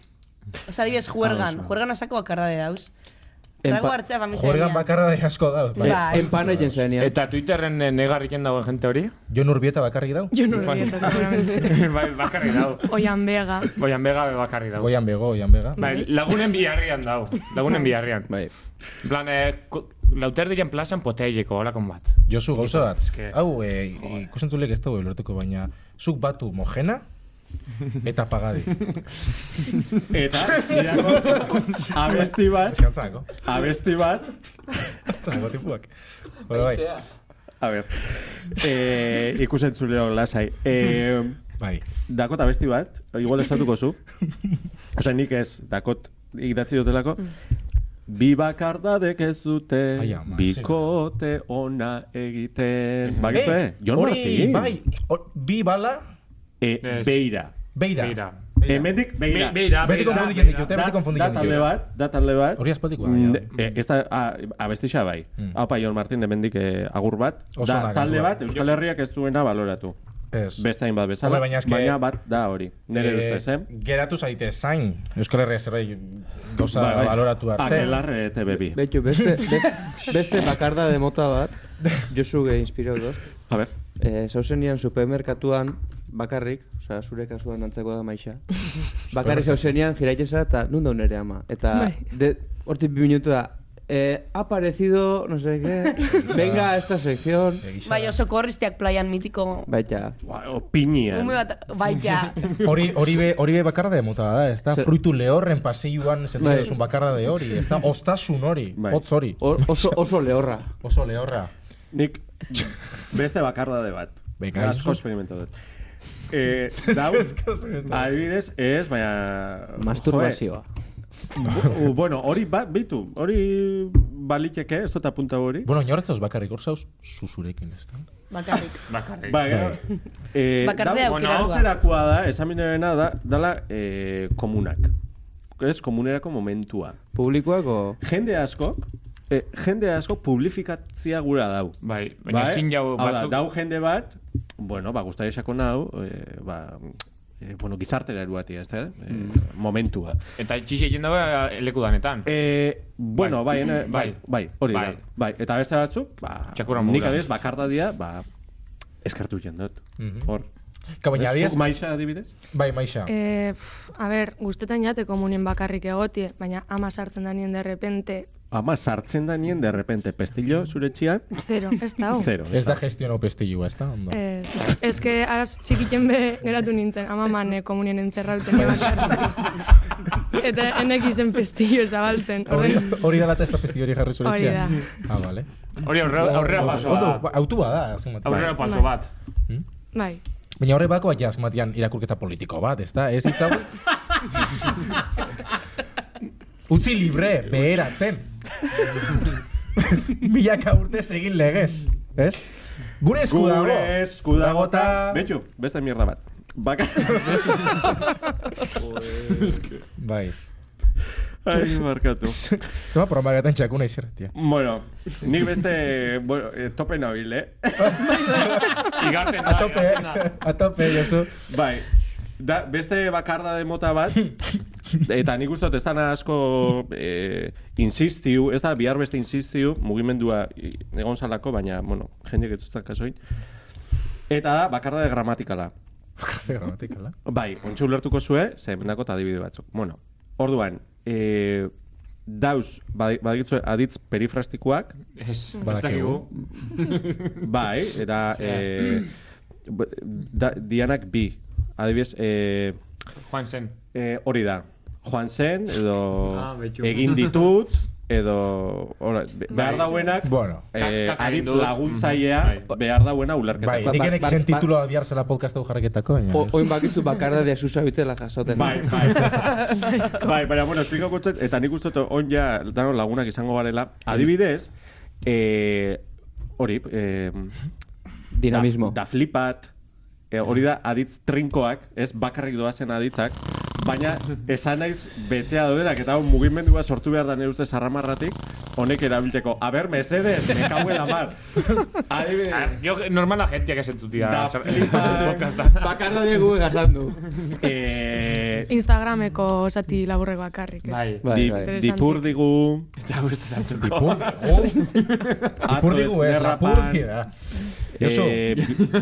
Speaker 5: Osa, adibidez, juergan, juergan asako bakardea dauz.
Speaker 4: Enpa-
Speaker 5: Trago hartzea familia
Speaker 2: Juergan bakarra de asko dauz. Bai.
Speaker 5: Bai.
Speaker 4: Empana egin zenean.
Speaker 3: Eta Twitterren eh, negarriken dago jente hori?
Speaker 2: Jon Urbieta bakarrik dau?
Speaker 6: Yo no lo voy a hacer, seguramente.
Speaker 3: bai, bakarrik dago.
Speaker 6: Oian Vega.
Speaker 2: Ah.
Speaker 3: Boian bega be bakarrik dago.
Speaker 2: Goian bego, goian bega.
Speaker 3: Bai, lagunen biharrian dago. Lagunen biharrian.
Speaker 4: Bai.
Speaker 3: En plan, eh, ko- lauter diren plazan poteileko, hola bat.
Speaker 2: Josu, gauza bat.
Speaker 3: eske-
Speaker 2: Hau, eh, ikusentzulek ez dugu lortuko, baina zuk batu mojena eta pagadi.
Speaker 1: Eta, dirako, abesti bat,
Speaker 2: Txantzako.
Speaker 1: abesti bat,
Speaker 2: Txantzako oh. tipuak. Bueno, bai.
Speaker 1: a ber, e, ikusentzuleo lasai. E,
Speaker 2: Bai.
Speaker 1: Dakot abesti bat, igual esatuko zu. Osa nik ez, dakot idatzi dutelako. Bi bakardadek ez dute,
Speaker 2: Mm. Ai, ama,
Speaker 1: bikote ona egiten. Ba,
Speaker 2: Eh,
Speaker 1: gizue? Jon
Speaker 2: hori,
Speaker 1: Martin.
Speaker 2: Bai, hor- bi bala,
Speaker 1: E,
Speaker 3: Ez.
Speaker 1: beira.
Speaker 2: beira.
Speaker 3: Beira.
Speaker 1: Hemendik beira.
Speaker 3: Beira,
Speaker 2: Beti
Speaker 3: beira,
Speaker 2: konfundiken
Speaker 3: beira.
Speaker 2: ditut, eh?
Speaker 1: Da,
Speaker 2: beti konfundiken
Speaker 1: da talde
Speaker 2: ditut.
Speaker 1: bat, da talde bat.
Speaker 2: Hori aspaldikoa,
Speaker 1: Mm,
Speaker 2: baina. Mm.
Speaker 1: e, ez da, a, abestixa bai. Haupa, Jon Martin, hemendik eh, agur bat.
Speaker 2: Oso
Speaker 1: da,
Speaker 2: ona
Speaker 1: talde
Speaker 2: kantua.
Speaker 1: bat, Euskal Herriak ez duena baloratu.
Speaker 2: Ez.
Speaker 1: Beste hainbat bezala,
Speaker 2: Hombre, baina eske-
Speaker 1: baina bat da hori. Nere
Speaker 2: Eh,
Speaker 1: ustez, eh?
Speaker 2: Geratu zaite zain. Euskal Herria zerbait gauza
Speaker 1: Bai, eh, bai.
Speaker 2: baloratu arte.
Speaker 1: Akelarre ete bebi.
Speaker 4: Betxo, beste, beste, beste bakarda de mota bat, Josu ge inspirau doz.
Speaker 1: A ver.
Speaker 4: E, zauzenian supermerkatuan, bakarrik, osea, zure kasuan antzeko da maixa. Bakarrik zauzenian, jiraitzen zara, eta nun daun ere ama. Eta
Speaker 6: Bai.
Speaker 4: de, hortik bi minutu da, eh, ha aparecido, no sé qué, venga a esta sección. Bai,
Speaker 2: Egisa.
Speaker 5: Bai, oso korristeak playan mitiko...
Speaker 4: Baita,
Speaker 1: Ba, Opinia.
Speaker 5: Ume bat, bai, ja.
Speaker 2: Hori, hori be, hori be bakarra de mota da, ez da?
Speaker 4: Zer-
Speaker 2: Fruitu lehorren paseioan
Speaker 4: Bai.
Speaker 2: zentzen bakarra de hori, ez da? Ostasun hori,
Speaker 1: Bai.
Speaker 2: hotz hori,
Speaker 4: hor- oso, oso lehorra.
Speaker 2: oso lehorra.
Speaker 1: Nik beste bakarda de bat.
Speaker 2: Venga,
Speaker 1: asko
Speaker 2: Josu.
Speaker 1: esperimentatu dut. Eh, dau, adibidez, ez, baina...
Speaker 4: Masturbazioa.
Speaker 1: joe, u- bueno, hori bat, bitu, hori baliteke, ez dut apunta hori.
Speaker 2: Bueno, inorretzauz bakarrik, hor zauz, zuzurekin, ez da?
Speaker 5: Bakarrik.
Speaker 3: Bakarrik.
Speaker 1: Ba, gero,
Speaker 3: Bai.
Speaker 1: eh,
Speaker 5: Bakardea
Speaker 1: dau-
Speaker 5: aukeratua.
Speaker 1: bueno, aukeratua da, esaminerena da, dala eh, komunak. Ez, komunerako momentua.
Speaker 4: Publikoako,
Speaker 1: Jende askok, eh, jende askok publifikatzia gura dau.
Speaker 3: Bai, baina zin jau
Speaker 1: hau da,
Speaker 3: batzuk...
Speaker 1: dau jende bat, bueno, ba, guztai esako nau, eh, ba, eh, bueno, gizartera eruatia, ez da, eh,
Speaker 3: Mm.
Speaker 1: momentua.
Speaker 3: Eta txixe egin dago eh, leku danetan.
Speaker 1: Eh, bueno, bai,
Speaker 3: Bai.
Speaker 1: ene- bai, bai, hori
Speaker 3: Bai.
Speaker 1: da, bai, eta beste batzuk, ba,
Speaker 3: Txakurra
Speaker 1: nik
Speaker 3: muga.
Speaker 1: adibidez, bakardadia, ba, eskertu jendot,
Speaker 3: Mhm.
Speaker 1: hor.
Speaker 2: Ka, baina,
Speaker 1: Ez, zuk
Speaker 2: adibidez-
Speaker 1: maixa adibidez?
Speaker 2: Bai, maixa.
Speaker 6: Eh, pf, a ber, guztetan jate komunien bakarrik egotie, baina ama sartzen da nien derrepente,
Speaker 1: Ama, sartzen da nien, de repente, pestillo, zure txian,
Speaker 6: zero, ez da hau.
Speaker 1: zero.
Speaker 2: ez da gestiono pestillua, ez da? Ondo.
Speaker 6: Eh, ez que araz txikiken be geratu nintzen, ama mane komunien enterrauten nien bakarrik. Eta enek izen pestillo zabaltzen.
Speaker 2: Hori,
Speaker 6: Horren,
Speaker 2: hori dela eta ez da pestillo hori jarri zure
Speaker 6: Hori da.
Speaker 2: etxean. Ah, vale.
Speaker 3: Hori aurre- aurrera pasoa
Speaker 2: Ondo, ba,
Speaker 3: da.
Speaker 2: autua da, azken bat.
Speaker 3: Aurrera paso
Speaker 6: Bai.
Speaker 3: bat.
Speaker 6: bai,
Speaker 2: Baina horre bako baina azmatian irakurketa politiko bat, ez da? Ez itzago... Utzi libre, beheratzen. Milaka urte egin legez, ez? Gure esku dago.
Speaker 1: Gure eskudagota, betxu, beste mierda bat. Baka...
Speaker 2: Bai.
Speaker 1: Ai, markatu.
Speaker 2: Zema promagaten txakuna izerretia.
Speaker 1: Bueno, nik beste, bueno, eh, tope nabil, eh?
Speaker 3: Igarten da,
Speaker 2: A tope,
Speaker 3: igarten da.
Speaker 2: eh? a tope, Josu.
Speaker 1: Bai, da, beste bakarda de mota bat, Eta nik uste dut ez dana asko eh, insistiu, ez da bihar beste insistiu, mugimendua i- egon zalako, baina, bueno, jendeak ez duztak kasoin. Eta da, bakarra de gramatikala.
Speaker 2: gramatikala.
Speaker 1: Bai, ontsa ulertuko zue, ze mendako eta adibide batzuk. Bueno, orduan, eh, dauz, badi- baditzu aditz perifrastikoak,
Speaker 3: Ez, ez
Speaker 2: Badakigu.
Speaker 3: dakigu.
Speaker 1: Bai, eta eh, b- da, dianak bi. Adibidez, eh,
Speaker 3: Joan zen.
Speaker 1: eh, hori da. Joan zen, edo
Speaker 3: Ah, betxu.
Speaker 1: egin ditut, edo ora, be- behar dauenak,
Speaker 2: Bueno.
Speaker 1: eh,
Speaker 3: Kak- kak egin
Speaker 1: aritz
Speaker 3: dut.
Speaker 1: laguntzaia,
Speaker 3: Bai.
Speaker 1: behar dauena ulerketa.
Speaker 2: Bai,
Speaker 4: Ba-
Speaker 2: nik
Speaker 4: ba-
Speaker 2: enek
Speaker 4: ba-
Speaker 2: izen
Speaker 4: ba-
Speaker 2: tituloa bihar zela podcast hau jarraketako, baina-
Speaker 4: O- Oin bakitzu bakarda de asusa bitela jasoten.
Speaker 1: Bai, bai. bai, baina, bueno, esplikako txet, eta nik uste dut, on ja, danon lagunak izango garela. Adibidez, eh, hori, eh,
Speaker 4: Dinamismo.
Speaker 1: Da, da flipat, e, hori da aditz trinkoak, ez bakarrik doazen aditzak, baina esan naiz betea dodenak eta hau mugimendua sortu behar da nire uste sarramarratik, honek erabilteko. Aber, mesedes, me cago en la mar.
Speaker 3: Ah,
Speaker 1: Adibidez,
Speaker 3: Yo, normala jentiak esentzutia.
Speaker 1: Da
Speaker 3: zer-
Speaker 1: flipa.
Speaker 3: podcasta.
Speaker 4: Bakarda de gu egazan du.
Speaker 1: eh,
Speaker 6: Instagrameko zati laburrek bakarrik, ez?
Speaker 3: Bai.
Speaker 4: Bai,
Speaker 1: di,
Speaker 4: bai.
Speaker 1: dipur digu,
Speaker 3: Eta guzti zartuko.
Speaker 4: Oh.
Speaker 1: atzo
Speaker 2: Ipurdi gu ez,
Speaker 1: esnerrapan,
Speaker 2: lapurdi da. Josu.
Speaker 1: eh,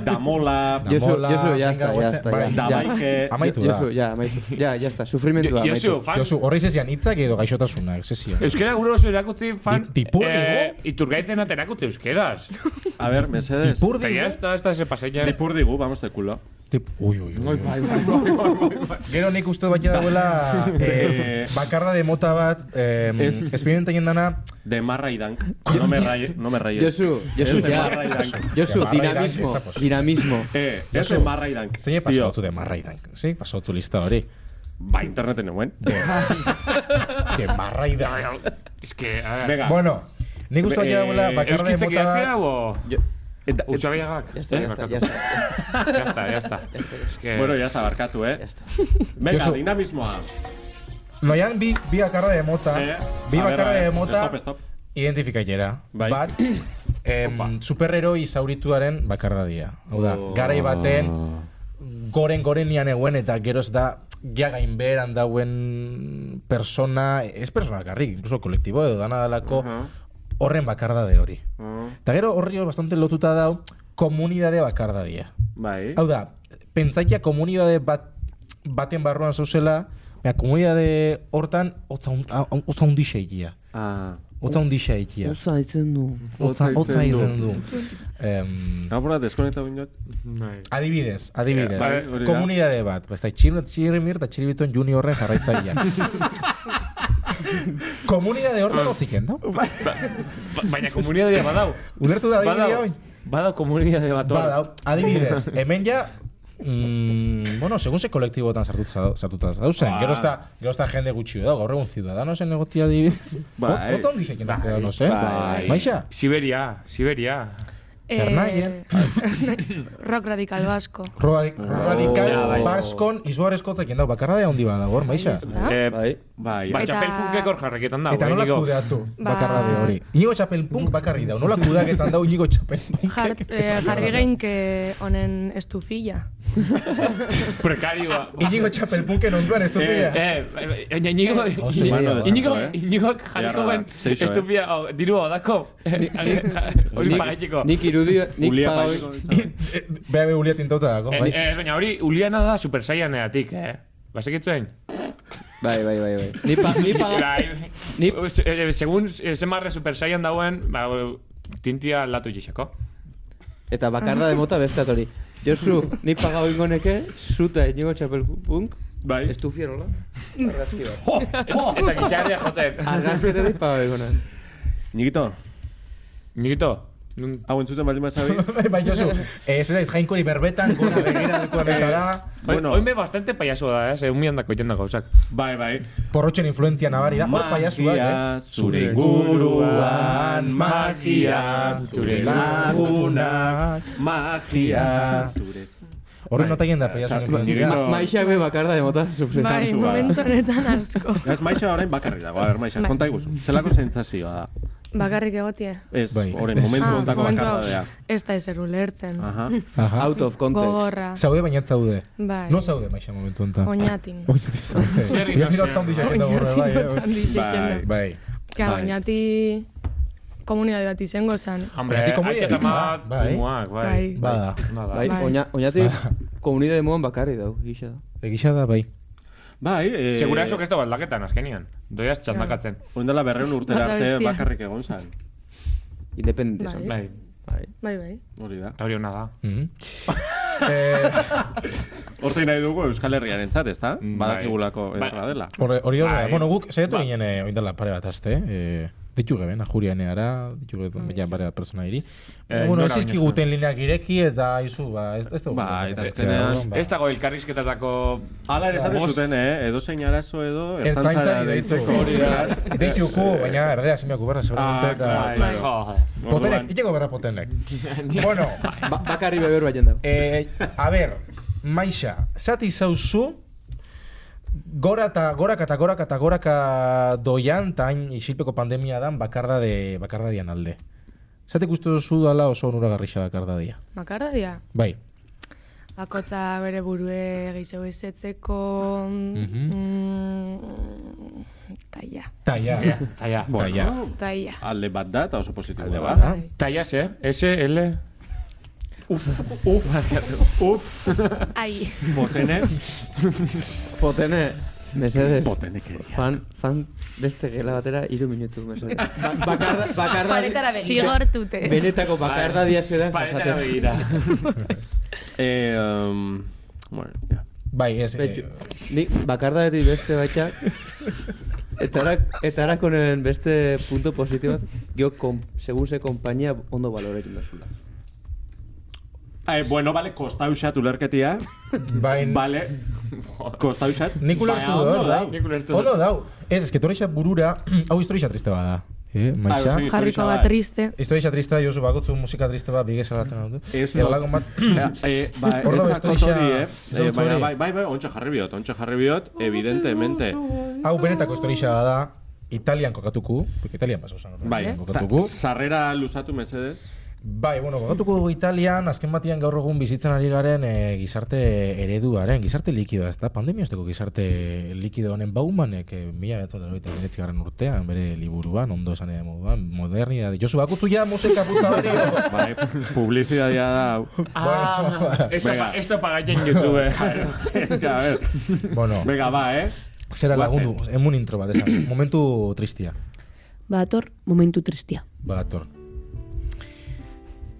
Speaker 1: damola,
Speaker 4: Josu,
Speaker 2: Damola,
Speaker 4: Josu,
Speaker 2: venga,
Speaker 4: ya está, ya
Speaker 2: goazen.
Speaker 4: está,
Speaker 2: Bai.
Speaker 4: ya.
Speaker 1: dabaike,
Speaker 2: Amaitu da.
Speaker 4: Josu, ja, amaitu. Ja, ja está, sufrimentua amaitu.
Speaker 3: Josu, fan.
Speaker 2: Josu, horri zezian hitzak edo gaixotasuna, ez zezian.
Speaker 3: Euskera gure oso erakutzi fan... eh,
Speaker 2: Di- dipur digu?
Speaker 3: Iturgaizen aterakutzi euskeraz.
Speaker 1: a ver, mesedes, dipur,
Speaker 3: Eta ya está, esta se paseia.
Speaker 1: digu, vamos de culo.
Speaker 2: Tip, ui, ui, ui.
Speaker 3: Bai, bai, bai, bai, bai.
Speaker 2: Gero nik uste bat dagoela eh, bakarra de mota bat, eh,
Speaker 1: Ez.
Speaker 2: esperimentain dana,
Speaker 1: De marra y dank. No me rayes. No me rayes.
Speaker 4: Josu, Josu,
Speaker 1: Es de
Speaker 4: ya.
Speaker 1: marra y dank.
Speaker 4: Josu,
Speaker 2: Barra iran, ez
Speaker 4: dinamismo,
Speaker 2: da posible.
Speaker 4: dinamismo.
Speaker 1: Eh, es
Speaker 2: Josu,
Speaker 1: de marra y dank.
Speaker 2: zein
Speaker 1: Tío,
Speaker 2: pasatu de marraidan, zein pasatu lista hori.
Speaker 1: Va, internet en el buen.
Speaker 2: De marraidan.
Speaker 3: Es que, a ver...
Speaker 1: Venga.
Speaker 2: Bueno, nik uste bat
Speaker 1: Eh,
Speaker 2: dagoela bakarra de
Speaker 3: Euskitzek
Speaker 2: mota
Speaker 3: idatzea,
Speaker 2: bat,
Speaker 3: o...
Speaker 4: Jo,
Speaker 1: Eta-
Speaker 3: Utsabiagak.
Speaker 4: ya está, ya está, Este ya está.
Speaker 3: Ya está, ya está. Es que...
Speaker 1: bueno, ya está, barcatu, eh.
Speaker 4: Ya está.
Speaker 1: Venga,
Speaker 2: Josu.
Speaker 1: dinamismo a.
Speaker 2: noian bi, bi bakarra de mota,
Speaker 1: Eh,
Speaker 2: bi
Speaker 1: a ver, a
Speaker 2: bakarra
Speaker 1: ver,
Speaker 2: de mota,
Speaker 1: Stop, stop.
Speaker 2: identifikailera.
Speaker 1: Bai.
Speaker 2: Bat, em, superheroi zaurituaren bakardadia. Hau da,
Speaker 1: Oh.
Speaker 2: garai baten, goren gorenian eguen eta geroz da ja gainbeheran dauen persona, ez persona garrik, incluso kolektibo edo dana dalako horren bakardade hori.
Speaker 1: Oh.
Speaker 2: Eta gero horri hor bastante lotuta dau komunidade bakardadia.
Speaker 1: Bai.
Speaker 2: Hau da, pentsaikia komunidade bat, baten barruan zauzela, baina komunidade hortan otza hun- a- a- otza hundi seikia.
Speaker 1: Ah.
Speaker 2: Otza hundi seikia.
Speaker 4: Oza, itzen du.
Speaker 2: Otza,
Speaker 1: otza
Speaker 2: otza
Speaker 1: egiten
Speaker 2: egiten du. Em,
Speaker 1: Ahora desconecta un
Speaker 3: Bai.
Speaker 2: Adibidez, adibidez.
Speaker 1: Eh, bai, hori da.
Speaker 2: Komunidade bat. Pues Basta, txirri, txirrimir eta txirribiton juniorren jarraitzaia. Komunidade hortan hotziken, no?
Speaker 3: Ba- Baina komunidadea badau.
Speaker 2: Ulertu da adibidea
Speaker 3: Badau,
Speaker 2: hoy?
Speaker 3: badau komunidade bat hor.
Speaker 2: Badau, adibidez, hemen ja... Mm, bueno, segun ze kolektibotan sartuta sartuta dauzen. Gero eta gero eta jende gutxi da, gaur egun ciudadanosen egotia adibidez.
Speaker 1: Bai.
Speaker 2: Otan disekin da
Speaker 3: Bai.
Speaker 2: ciudadanos, eh?
Speaker 4: Bai.
Speaker 2: Maixa?
Speaker 3: Siberia, Siberia.
Speaker 2: Hernaien.
Speaker 6: Eh, rock radical vasco.
Speaker 2: Roa- Radical,
Speaker 4: Ja, bai.
Speaker 2: Baskon, izuarezkotzekin dau, bakarra da handi bada, gaur, Maixa?
Speaker 6: Ezta?
Speaker 3: Eh,
Speaker 4: Bai.
Speaker 1: Bai.
Speaker 3: Ba,
Speaker 6: Eta-
Speaker 3: txapel punkek hor jarraketan dago.
Speaker 2: Eta nola
Speaker 3: Íñigo.
Speaker 2: kudeatu
Speaker 6: Ba-
Speaker 2: bakarra de hori. Inigo txapelpunk bakarri dau. Nola kudeaketan dau inigo txapelpunk?
Speaker 6: Jar, eh, jarri geinke honen estufilla.
Speaker 3: Prekarioa.
Speaker 2: Inigo txapelpunken onduan ez duzia.
Speaker 3: Eh, eh, Iñigo,
Speaker 2: Oso imano
Speaker 3: Iñigo,
Speaker 2: desarto,
Speaker 3: Iñigo,
Speaker 1: eh?
Speaker 3: Iñigo jarriko
Speaker 1: Jarra da,
Speaker 3: ben
Speaker 1: seixo, eh?
Speaker 3: estupia, oh, dirua odako, hori pagaitiko.
Speaker 4: Nik irudi, nik
Speaker 1: Ulia
Speaker 4: pagai.
Speaker 1: paiko.
Speaker 2: Bea be ulia tintauta dago,
Speaker 3: Eh,
Speaker 2: bai.
Speaker 3: eh, Baina hori, uliana da Super Saiyan edatik, eh? Basekitzuen?
Speaker 4: Bai, bai, bai, bai. Ni pa, ni pa.
Speaker 3: Bai.
Speaker 4: Ni-
Speaker 3: Se- eh, Segun eh, zemarre Super Saiyan dauen, ba, tintia latu jixako.
Speaker 4: Eta bakarda de mota beste atori. Josu, ni paga oingo neke, zuta inigo txapelpunk,
Speaker 1: Bai.
Speaker 3: Este,
Speaker 4: estufier, hola? Argazki bat.
Speaker 3: Jo, eta gitarria joten.
Speaker 4: Argazketa dit paga oingo nan.
Speaker 1: Nikito,
Speaker 3: Nikito, nun-
Speaker 1: hau entzuten baldin bazabi.
Speaker 2: Bai, Josu, ez ez jainkori berbetan gora begira dukonetara.
Speaker 3: Hoy,
Speaker 1: Bueno.
Speaker 3: hoy me bastante payaso da, eh? Ze, un mian dako jenda gauzak.
Speaker 1: Bai, bai.
Speaker 2: Porrotxen influentzia nabari da. Hor paiasuak, eh?
Speaker 1: Magia, zure inguruan, magia, zure lagunak, magia, zure
Speaker 2: Horren notaien da paiasuak influentzia.
Speaker 1: Nikito.
Speaker 4: Maixa be bakarda de mota, sufretan.
Speaker 6: Bai,
Speaker 1: ba.
Speaker 6: momentu honetan asko.
Speaker 1: Ez maixa orain bakarri dago, a ber, maixa,
Speaker 6: Bai.
Speaker 1: konta iguzu. Zelako zentzazioa da.
Speaker 6: Bakarrik egotie.
Speaker 1: Ez,
Speaker 2: Bai.
Speaker 1: horren,
Speaker 2: Ez.
Speaker 1: momentu
Speaker 6: Ah,
Speaker 1: ontako
Speaker 6: momentu hau.
Speaker 1: bakardadea.
Speaker 6: Ez da ezer ulertzen.
Speaker 1: Aha.
Speaker 2: Aha.
Speaker 4: Out of context.
Speaker 6: Gogorra.
Speaker 2: Zaude baina ez zaude.
Speaker 6: Bai.
Speaker 2: No zaude maixa momentu honetan.
Speaker 6: Oñatin.
Speaker 2: Oñati zaude.
Speaker 3: Zer
Speaker 2: Ia
Speaker 3: inozean.
Speaker 2: miratza handi jaketa gorre, bai, eh.
Speaker 1: Bai.
Speaker 2: Bai.
Speaker 6: Ka,
Speaker 1: Bai.
Speaker 6: oñati komunidade bat izango zen.
Speaker 1: Ah,
Speaker 3: Hombre,
Speaker 2: Baina ti komunidade
Speaker 3: aiketa
Speaker 2: bat,
Speaker 3: bat,
Speaker 2: bai.
Speaker 3: tumuak, bai.
Speaker 6: Bai.
Speaker 2: Bada.
Speaker 3: Nada.
Speaker 4: Bai,
Speaker 6: Bai.
Speaker 4: oina- oñati komunidade moan bakarri dau, gisa da.
Speaker 2: Egisa da, bai.
Speaker 1: Bai, eh,
Speaker 3: Seguraso que ez da bat laketan, azkenian. Doiaz txandakatzen.
Speaker 1: Oindela berreun urtera
Speaker 6: Bata
Speaker 1: arte
Speaker 6: bestia.
Speaker 1: bakarrik egon zan.
Speaker 4: Independente
Speaker 6: Bai.
Speaker 4: esan.
Speaker 3: Bai,
Speaker 4: Bai.
Speaker 6: Bai, bai.
Speaker 1: Hori da.
Speaker 3: eta hori hona da.
Speaker 2: Mhm. Eh,
Speaker 1: Horte nahi dugu Euskal Herriaren zat, ezta?
Speaker 3: Bai.
Speaker 1: Badakigulako
Speaker 3: Bai.
Speaker 1: ederra dela.
Speaker 2: Horre, hori horre,
Speaker 3: Bai.
Speaker 2: bueno, guk saiatu
Speaker 3: Ba.
Speaker 2: ginen eh, oindala pare bat aste, eh, ditu geben, ajurianeara, ditu geben, ja, pare bat pertsona hiri.
Speaker 3: Eh,
Speaker 2: bueno,
Speaker 3: nora
Speaker 2: ez izkiguten lineak ireki eta izu, ba, ez, ez dugu.
Speaker 1: Ba, eta
Speaker 2: Beste,
Speaker 1: azkenean-
Speaker 2: orduan, ba.
Speaker 3: Ez dago elkarrizketatako...
Speaker 1: Hala ere esaten
Speaker 3: Bost-
Speaker 1: zuten, eh? Edo zein arazo edo ertzaintzara
Speaker 2: Ertzaintzari
Speaker 1: deitzeko hori da. ez?
Speaker 2: Deituko, baina erdea semeako berra,
Speaker 1: Ah,
Speaker 2: seguramente,
Speaker 1: bai,
Speaker 2: eta...
Speaker 3: Bai,
Speaker 1: claro.
Speaker 3: jo.
Speaker 2: Potenek,
Speaker 1: Orduan-
Speaker 2: itxeko berra potenek. bueno,
Speaker 4: Ba- bakarri beber baien dau.
Speaker 2: eh, a ber, maixa, zati zauzu, Gora eta goraka eta goraka eta goraka doian, eta hain isilpeko pandemia dan bakardade, bakardadian alde. Zatek uste duzu dala oso onuragarrixa bakardadia.
Speaker 6: Bakardadia.
Speaker 2: Bai.
Speaker 6: Bakotza bere burue gehiago izetzeko...
Speaker 2: Mhm.
Speaker 6: mm, Taia.
Speaker 2: Taia.
Speaker 3: Ja, Taia.
Speaker 2: Taia.
Speaker 6: Taia.
Speaker 1: Alde bat da eta oso positibo
Speaker 2: Alde
Speaker 1: da.
Speaker 2: bat da.
Speaker 6: Bai.
Speaker 3: Taia ze, S, L...
Speaker 1: Uf, uf, uf,
Speaker 6: Ai.
Speaker 1: potenek,
Speaker 4: Potene, mesedes.
Speaker 1: potenek eria.
Speaker 4: Fan, fan beste gela batera iru minutu, mesedes. Ba, bakarda, bakarda,
Speaker 5: Paretara
Speaker 6: Bai.
Speaker 5: begira.
Speaker 6: Zigortute.
Speaker 4: Benetako bakarda dia zedan jasaten.
Speaker 3: Paretara begira.
Speaker 1: Eh, um, bueno, ja.
Speaker 2: Bai, ez.
Speaker 4: Betu,
Speaker 2: Eh,
Speaker 4: nik bakarda eri beste baitxak. Etarak, etarak honen beste punto positibat, geok, kom, segun ze kompainia ondo balorekin dozula.
Speaker 1: Ai, bueno, vale, kosta usat ulerketia.
Speaker 2: bai,
Speaker 1: Vale, kosta usat.
Speaker 2: Nik ulertu
Speaker 1: Baina
Speaker 2: dut, bai.
Speaker 1: ondo
Speaker 2: dau.
Speaker 3: Nik ulertu
Speaker 2: Ondo
Speaker 3: dut.
Speaker 2: dau. Ez, ez, que torreixa burura, hau historia triste bada. Eh, maixa?
Speaker 1: Ah, oso
Speaker 6: Jarriko
Speaker 1: bai.
Speaker 6: bat triste.
Speaker 2: Historia triste, Josu, bakotzu musika triste bat, bigez alatzen hau du.
Speaker 1: Ez
Speaker 2: Eta
Speaker 1: dut.
Speaker 2: holako bat-
Speaker 1: Ja, eh, ba, ez
Speaker 2: Ordo
Speaker 1: da
Speaker 2: beste
Speaker 1: kot
Speaker 2: isa-
Speaker 1: hori, eh?
Speaker 2: ez da
Speaker 1: Eh,
Speaker 2: kot
Speaker 1: Baina,
Speaker 2: hori.
Speaker 1: bai, bai, bai, ontsa jarri biot, ontsa jarri biot, evidentemente.
Speaker 2: Hau benetako historia da, Italian kokatuko, porque Italian pasau zen.
Speaker 1: Bai,
Speaker 2: Italian
Speaker 1: sa-
Speaker 2: kokatuko.
Speaker 1: sarrera luzatu mesedes.
Speaker 2: Bai, bueno, kokatuko dugu Italian, azken batian gaur egun bizitzen ari garen eh, gizarte ereduaren, gizarte likidoa, ez da, pandemiosteko gizarte likido honen baumanek, e, mila garren urtean, bere liburuan, ondo esan edo moduan, modernidade. Josu, bakutzu ja musika puta hori.
Speaker 1: Bai, publizitatea da. hau.
Speaker 3: Ah, esto,
Speaker 1: Venga.
Speaker 3: pa, esto pagatzen YouTube. eh.
Speaker 1: Ez que, a ver.
Speaker 2: bueno,
Speaker 1: Venga, ba, eh?
Speaker 2: zera
Speaker 1: guazen.
Speaker 2: lagundu, emun intro bat, esan, momentu tristia.
Speaker 5: Badator, momentu tristia.
Speaker 2: Badator.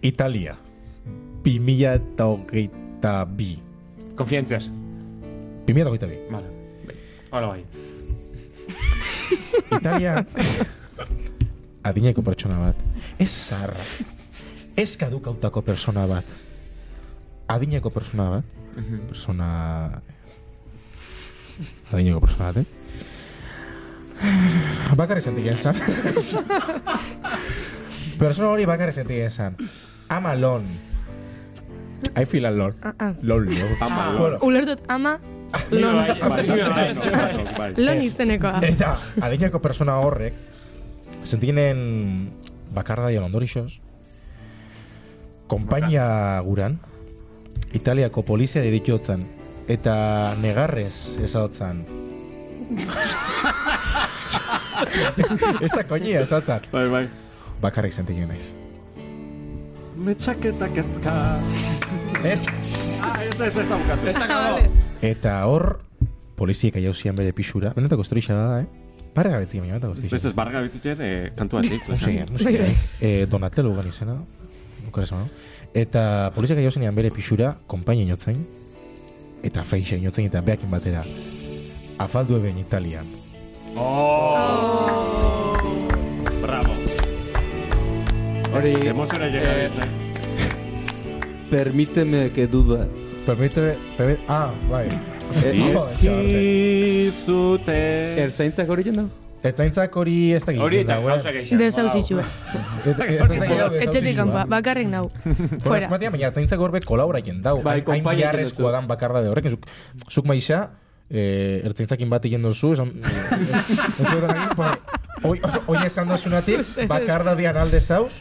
Speaker 2: Italia, 2022. eta hogeita bi.
Speaker 3: Konfientzas.
Speaker 2: Bi mila eta hogeita bi.
Speaker 3: Vale. Bai. Hola, bai.
Speaker 2: Italia adineko pertsona bat. Ez zarra. Ez kadukautako pertsona bat. Adineko pertsona bat. Persona... Adineko pertsona bat, eh? Bakarri sentigen zan. persona hori bakarri sentigen zan. I'm alone. I feel alone.
Speaker 6: Ah, ah.
Speaker 2: Lonely.
Speaker 1: alone.
Speaker 2: Bueno,
Speaker 6: Ulertut ama
Speaker 3: Ni
Speaker 6: lon.
Speaker 3: bai,
Speaker 1: Bai,
Speaker 3: ni
Speaker 1: bai,
Speaker 3: bai.
Speaker 1: bai, bai.
Speaker 6: Lon
Speaker 2: Ez.
Speaker 6: izenekoa.
Speaker 2: Eta, adinako persona horrek, sentiginen bakardaian ondorixos, kompainia guran, Italiako polizia diditiotzan, eta negarrez ezaotzan. Ez da koñia ezaotzan.
Speaker 1: Bai, bai.
Speaker 2: Bakarrik sentigen naiz.
Speaker 1: Me txaketa kezka.
Speaker 2: Ez?
Speaker 1: Ah, ez, ez, ez da bukatu.
Speaker 3: Está acabado.
Speaker 2: Eta hor, poliziek aiauzian bere pixura. Benetako historia da, eh? Pare gabetzik, baina benetako
Speaker 1: Ez
Speaker 2: historia.
Speaker 1: ez barga bitzitien eh, kantua zik.
Speaker 2: Musika, musika. eh, Donatello gan izena, Bukaresma, no? Eta polizia gehiago zenean bere pixura, konpaina inotzain, eta feixa inotzain, eta beakin batera. Afaldu eben Italian.
Speaker 3: Oh.
Speaker 1: Bravo.
Speaker 4: Hori,
Speaker 1: Emoziona llega
Speaker 4: eh,
Speaker 1: ditza.
Speaker 4: permíteme que duda.
Speaker 2: Permite, permite, ah, bai. Eh, jo, esa arte.
Speaker 1: Izkizute.
Speaker 4: Ertzaintzak hori jendau?
Speaker 2: Ertzaintzak hori ez da
Speaker 3: Hori eta
Speaker 2: gau, eh?
Speaker 3: gauza geixen.
Speaker 6: Desauzitxue.
Speaker 2: Ez- ertzaintzak gehiago
Speaker 6: Etxetik
Speaker 2: desauzizua.
Speaker 6: kanpa, bakarrik nau.
Speaker 2: Bueno,
Speaker 6: Fuera.
Speaker 2: esmatia, baina ertzaintzak horbe kolaboraien dau. Hain-
Speaker 4: Bai,
Speaker 2: hain
Speaker 4: konpaina egiten
Speaker 2: beharrezkoa
Speaker 4: duzu.
Speaker 2: dan bakarda de horrek. Zuk, zuk maixa, eh, ertzaintzakin bat egin duzu, esan... Ez zuetan egin, ba, Hoi- Oin esan dozunatik, bakardadian alde zauz,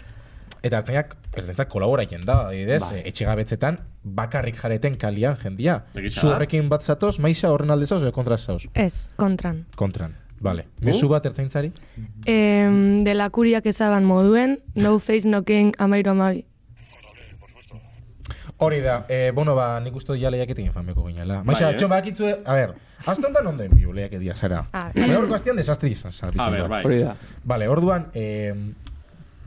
Speaker 2: eta ertzainak, ertzainak kolaboratzen da, adibidez,
Speaker 4: Bai.
Speaker 2: ba. etxegabetzetan, bakarrik jareten kalian jendia.
Speaker 1: Egia
Speaker 2: Zu
Speaker 1: da.
Speaker 2: horrekin bat zatoz, maisa horren alde zauz, edo kontra zauz?
Speaker 6: Ez, kontran.
Speaker 2: Kontran. Vale. Mezu bat ertzaintzari?
Speaker 6: Em, de la kuriak ezaban moduen, no face, no king, amairu amabi.
Speaker 2: Hori da, eh, bueno, ba, nik uste dut lehiaketik egin fanbeko ginela.
Speaker 1: Bai,
Speaker 2: Maixa, bai,
Speaker 1: ez?
Speaker 2: txon bakitzu, a ber, azte honetan ondo enbiu lehiaketia zara.
Speaker 6: Ah,
Speaker 2: Baina horko aztean desastri izan zara.
Speaker 1: A ber, bai.
Speaker 4: Hori da.
Speaker 2: Vale, orduan, eh,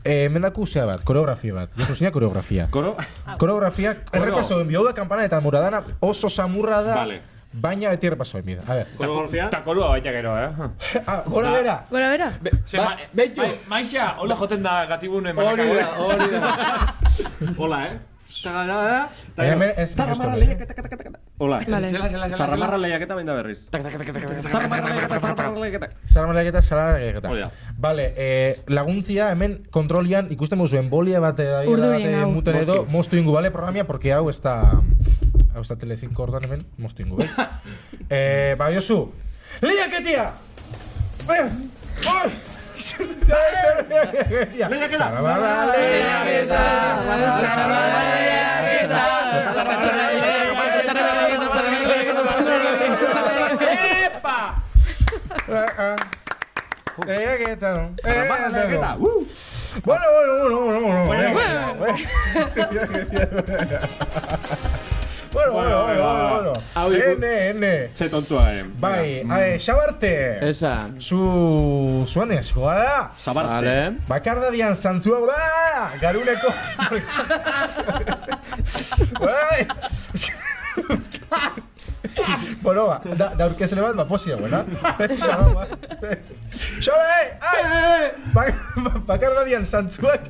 Speaker 2: eh, mendako zea bat, koreografia bat. Josu zina koreografia.
Speaker 1: Koro?
Speaker 2: Koreografia, errepaso enbiu da, kampana eta muradana, oso samurra da,
Speaker 1: Vale.
Speaker 2: baina beti errepaso enbiu da. A ber,
Speaker 1: Koreografia?
Speaker 3: Eta kolua baita gero, eh?
Speaker 2: ah, gora bera,
Speaker 6: Gora bera?
Speaker 3: Ze, ma, bai, maixa, hola joten da gatibune
Speaker 4: Hori da,
Speaker 3: manaka.
Speaker 4: hori da.
Speaker 1: Hola, eh? Zagadada, eta
Speaker 2: Baina
Speaker 1: gero,
Speaker 2: hemen ez-
Speaker 1: zarramarra
Speaker 2: ez-
Speaker 1: lehiaketa, kata, kata, kata. Hola.
Speaker 6: Vale.
Speaker 3: Zela, zela, zela,
Speaker 1: Zarramarra
Speaker 3: zela.
Speaker 1: lehiaketa behin da berriz. Zarramarra lehiaketa, zarramarra lehiaketa.
Speaker 2: Zara malaketa, zara malaketa.
Speaker 1: Hori da.
Speaker 2: Vale, eh, laguntzia hemen kontrolian ikusten muzu enbolia bat eh, adibidez,
Speaker 6: Urdurin
Speaker 2: bat, eh,
Speaker 6: hau.
Speaker 2: muten edo moztu ingu, bale, programia, porque hau ez da... Hau ez da Telecinco ordan hemen, moztu ingu, bai. eh, ba, Josu, lehiaketia! Eh, oi! Lehiaketia! Zarabada lehiaketa! Zarabada lehiaketa! Zarabada
Speaker 3: Epa!
Speaker 2: lehiaketa! Lehiaketa! no?
Speaker 1: Zarramarra lehiaketa. Uh!
Speaker 2: Bueno, bueno, bueno, bueno, bueno.
Speaker 1: Bueno,
Speaker 2: bueno. Bueno, bueno, bueno, bueno.
Speaker 1: Hau iku-
Speaker 2: CNN.
Speaker 1: Ze tontua, eh.
Speaker 2: Bai, eh, xabarte.
Speaker 4: Esan.
Speaker 2: Zu zuanezkoa da.
Speaker 1: Zabarte.
Speaker 4: Vale.
Speaker 2: Bakardarian zantzua da. Garuneko. Bai. Bueno, ba, da, da urkezele bat, ba, posi dagoena. Xala, ba. Xala, eh! Ai! Ba, ba, bakardarian zantzuak...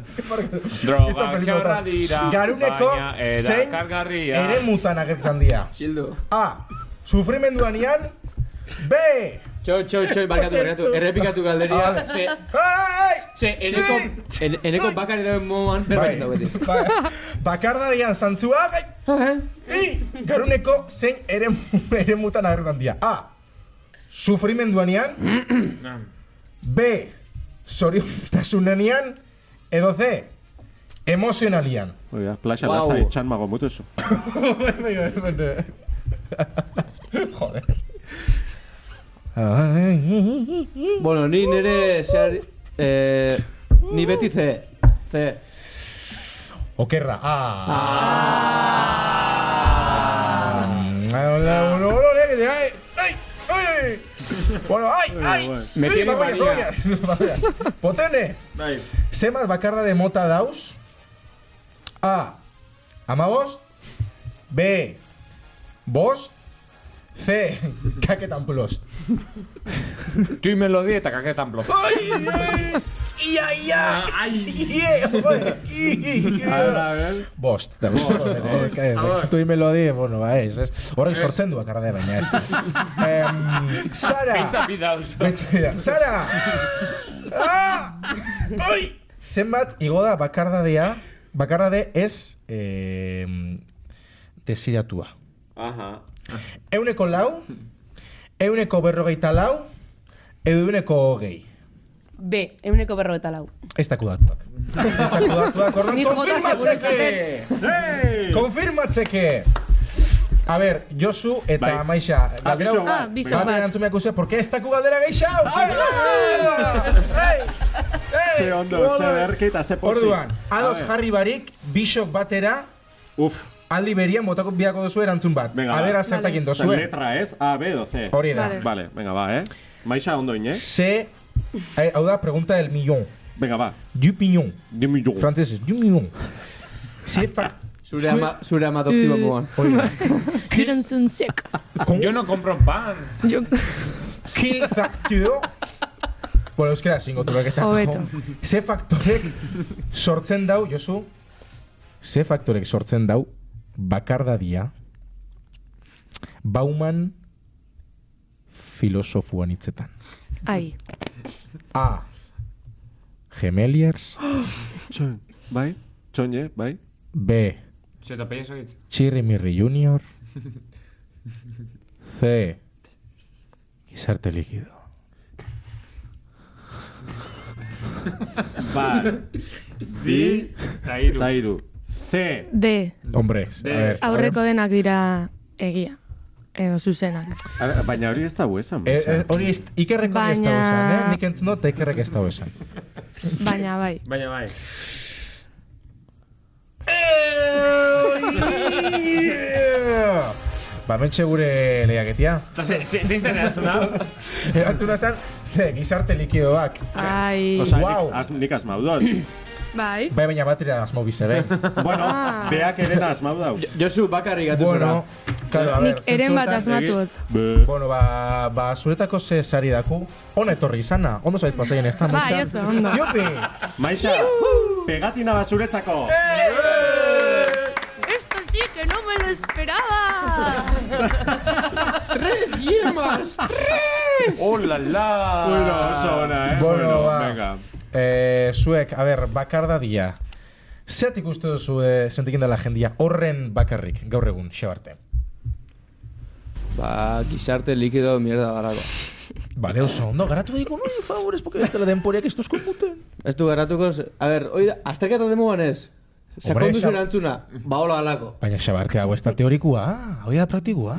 Speaker 3: Droga
Speaker 2: Esto peligro
Speaker 3: txarra
Speaker 2: tal.
Speaker 3: dira,
Speaker 2: Garuneko
Speaker 3: baina
Speaker 2: zein
Speaker 3: erakargarria.
Speaker 2: ere mutan agertan dira.
Speaker 4: Txildo.
Speaker 2: A. Sufrimenduan ian. B.
Speaker 4: Txo, txo, txo, Ah. barkatu, barkatu. Errepikatu galderia.
Speaker 2: Vale.
Speaker 4: Ze,
Speaker 2: Ai!
Speaker 4: ze, eneko, en, eneko bakari dauen moduan
Speaker 2: Bai,
Speaker 4: perfecto dago beti.
Speaker 2: ba, bakardarian zantzuak... ai! I, garuneko zein ere, ere mutan agertan dira. A. Sufrimenduanean. B. Zoriontasunean. Edo C. Emozionalian.
Speaker 1: Hori da, plaxa
Speaker 4: Guau.
Speaker 1: lasai, txan mago mutu eso.
Speaker 2: Joder.
Speaker 4: Bueno, ni nere zehar... Eh, ni beti ze. Ze.
Speaker 2: Okerra. Ah. Mm, Hola, hola, hola, nene, ai, ai, ai. Bueno, ai, ai.
Speaker 3: Me
Speaker 2: Ai,
Speaker 3: tiene
Speaker 2: bagoiaz,
Speaker 3: manía.
Speaker 2: bagoiaz, bagoiaz. Potene.
Speaker 1: Bai.
Speaker 2: Zemar bakarra de mota dauz? A. Amabost. B. Bost. C. Kaketan plost.
Speaker 3: Tui melodi eta kaketan bloz.
Speaker 2: Ia,
Speaker 3: ¡Ah!
Speaker 2: ia! Ie, joder, i, i, i. Bost. Da, bost. bost. Ez, tu melodi, bueno, ba, ez, ez. Horrek sortzen du bakarra de baina, ez. Em, Sara!
Speaker 3: Pintza bida oso.
Speaker 2: Beti da. Sara! Sara! Oi! Zenbat igo da bakardadea, bakardade ez eh, desiratua.
Speaker 1: Aha.
Speaker 2: Euneko lau, euneko berrogeita lau, edo euneko hogei.
Speaker 5: B, euneko berro eta lau.
Speaker 2: Ez daku datuak. Ez daku datuak, orduan
Speaker 5: Nik jota
Speaker 2: konfirmatzeke! Konfirmatzeke! A ber, Josu eta
Speaker 1: Bai.
Speaker 2: Maixa, galdera
Speaker 1: Abiso
Speaker 6: Ah,
Speaker 1: bat.
Speaker 6: bizo
Speaker 2: Bat
Speaker 6: bat.
Speaker 2: erantzun behar uzea, porque ez daku galdera geixau!
Speaker 1: Ze ondo, ze berke eta ze pozik.
Speaker 2: Orduan, ados
Speaker 1: pues A ver.
Speaker 2: jarri barik, bisok batera,
Speaker 1: Uf,
Speaker 2: aldi berian botako biako duzu erantzun bat.
Speaker 1: Venga,
Speaker 2: a ber,
Speaker 1: va.
Speaker 2: azertakin
Speaker 1: eta
Speaker 2: dozue.
Speaker 1: letra ez, A, B edo C.
Speaker 2: Hori da.
Speaker 6: Vale.
Speaker 1: Vale, venga, va, eh. Maixa ondo ine.
Speaker 2: Se... Eh, hau da, pregunta del millón.
Speaker 1: Venga, va.
Speaker 2: Du pignon.
Speaker 1: Dimi jo.
Speaker 2: Frantzesez, du millón. Se fa...
Speaker 4: Zure ama, zure ama adoptibo moduan.
Speaker 2: Hori da.
Speaker 6: Kiren zuntzek.
Speaker 2: Con
Speaker 3: Yo no compro pan.
Speaker 6: Jo,
Speaker 2: kill factor... Bueno, euskera zingo turak eta...
Speaker 6: Hobeto.
Speaker 2: Ze faktorek sortzen dau, Josu? Ze faktorek sortzen dau bakardadia Bauman filosofuan hitzetan.
Speaker 6: ai.
Speaker 2: A. Gemeliers.
Speaker 1: Txon, bai? Txone, bai?
Speaker 2: B.
Speaker 3: Se te peia soitz.
Speaker 2: Chirrimirri Junior. C. Gizarte likido.
Speaker 1: Bat. Bi.
Speaker 3: Eta hiru.
Speaker 1: Eta iru. C.
Speaker 6: D.
Speaker 2: Hombre,
Speaker 1: De-
Speaker 2: a ver.
Speaker 6: Aurreko denak dira egia. Edo zuzenak.
Speaker 1: A ver, Baina hori ez da buesan.
Speaker 2: Eh, eh, hori ez- ikerreko hori ez da
Speaker 6: Baina-
Speaker 2: esan, eh? Nik entzun dut, eta ikerrek ez da esan.
Speaker 6: Baina bai.
Speaker 3: Baina bai.
Speaker 2: ba, mentxe gure lehiaketia.
Speaker 3: Eta ze- ze- zein zen erantzuna?
Speaker 2: Erantzuna zen, eh, gizarte likidoak.
Speaker 6: Ai.
Speaker 1: Osa,
Speaker 2: Wow.
Speaker 1: nik, az, nik asmau dut.
Speaker 6: Bai.
Speaker 2: Bai, baina bat ere asmo eh? bizere.
Speaker 1: bueno,
Speaker 6: Ah.
Speaker 1: beak ere da asmau dau.
Speaker 4: Josu, bakarrik gatu
Speaker 2: bueno,
Speaker 4: zora.
Speaker 2: claro, a
Speaker 6: Nik
Speaker 2: ver,
Speaker 6: eren bat
Speaker 2: zentzuetan-
Speaker 6: asmatu dut.
Speaker 1: Be.
Speaker 2: Bueno, ba, ba, zuretako ze sari daku, hona etorri izana, ondo zaiz pasaien ez da,
Speaker 6: Bai,
Speaker 2: Maixa?
Speaker 6: oso ondo.
Speaker 2: Jopi!
Speaker 1: Maixa, pegatina bazuretzako.
Speaker 6: Esto sí que no me lo esperaba.
Speaker 4: ¡Tres yemas!
Speaker 3: Hola la!
Speaker 1: Bueno, oso ona, eh?
Speaker 2: Bueno, ba.
Speaker 1: venga.
Speaker 2: Eh, zuek, a ver, bakar dadia. Zeatik uste duzu eh, sentikin dela jendia horren bakarrik, gaur egun, xe arte.
Speaker 4: Ba, gizarte likido mierda garako.
Speaker 2: Bale, oso ondo, garatu diko, no, favores, porque ez dela denporeak ez duzko muten.
Speaker 4: Ez du garatuko... ze- A ber, hoi da, azterketa demuan ez.
Speaker 2: Hombre,
Speaker 4: Sakondu
Speaker 2: xa-
Speaker 4: zuen antzuna, ba hola alako.
Speaker 2: Baina xe arte, hau ez da teorikua, hau da praktikua.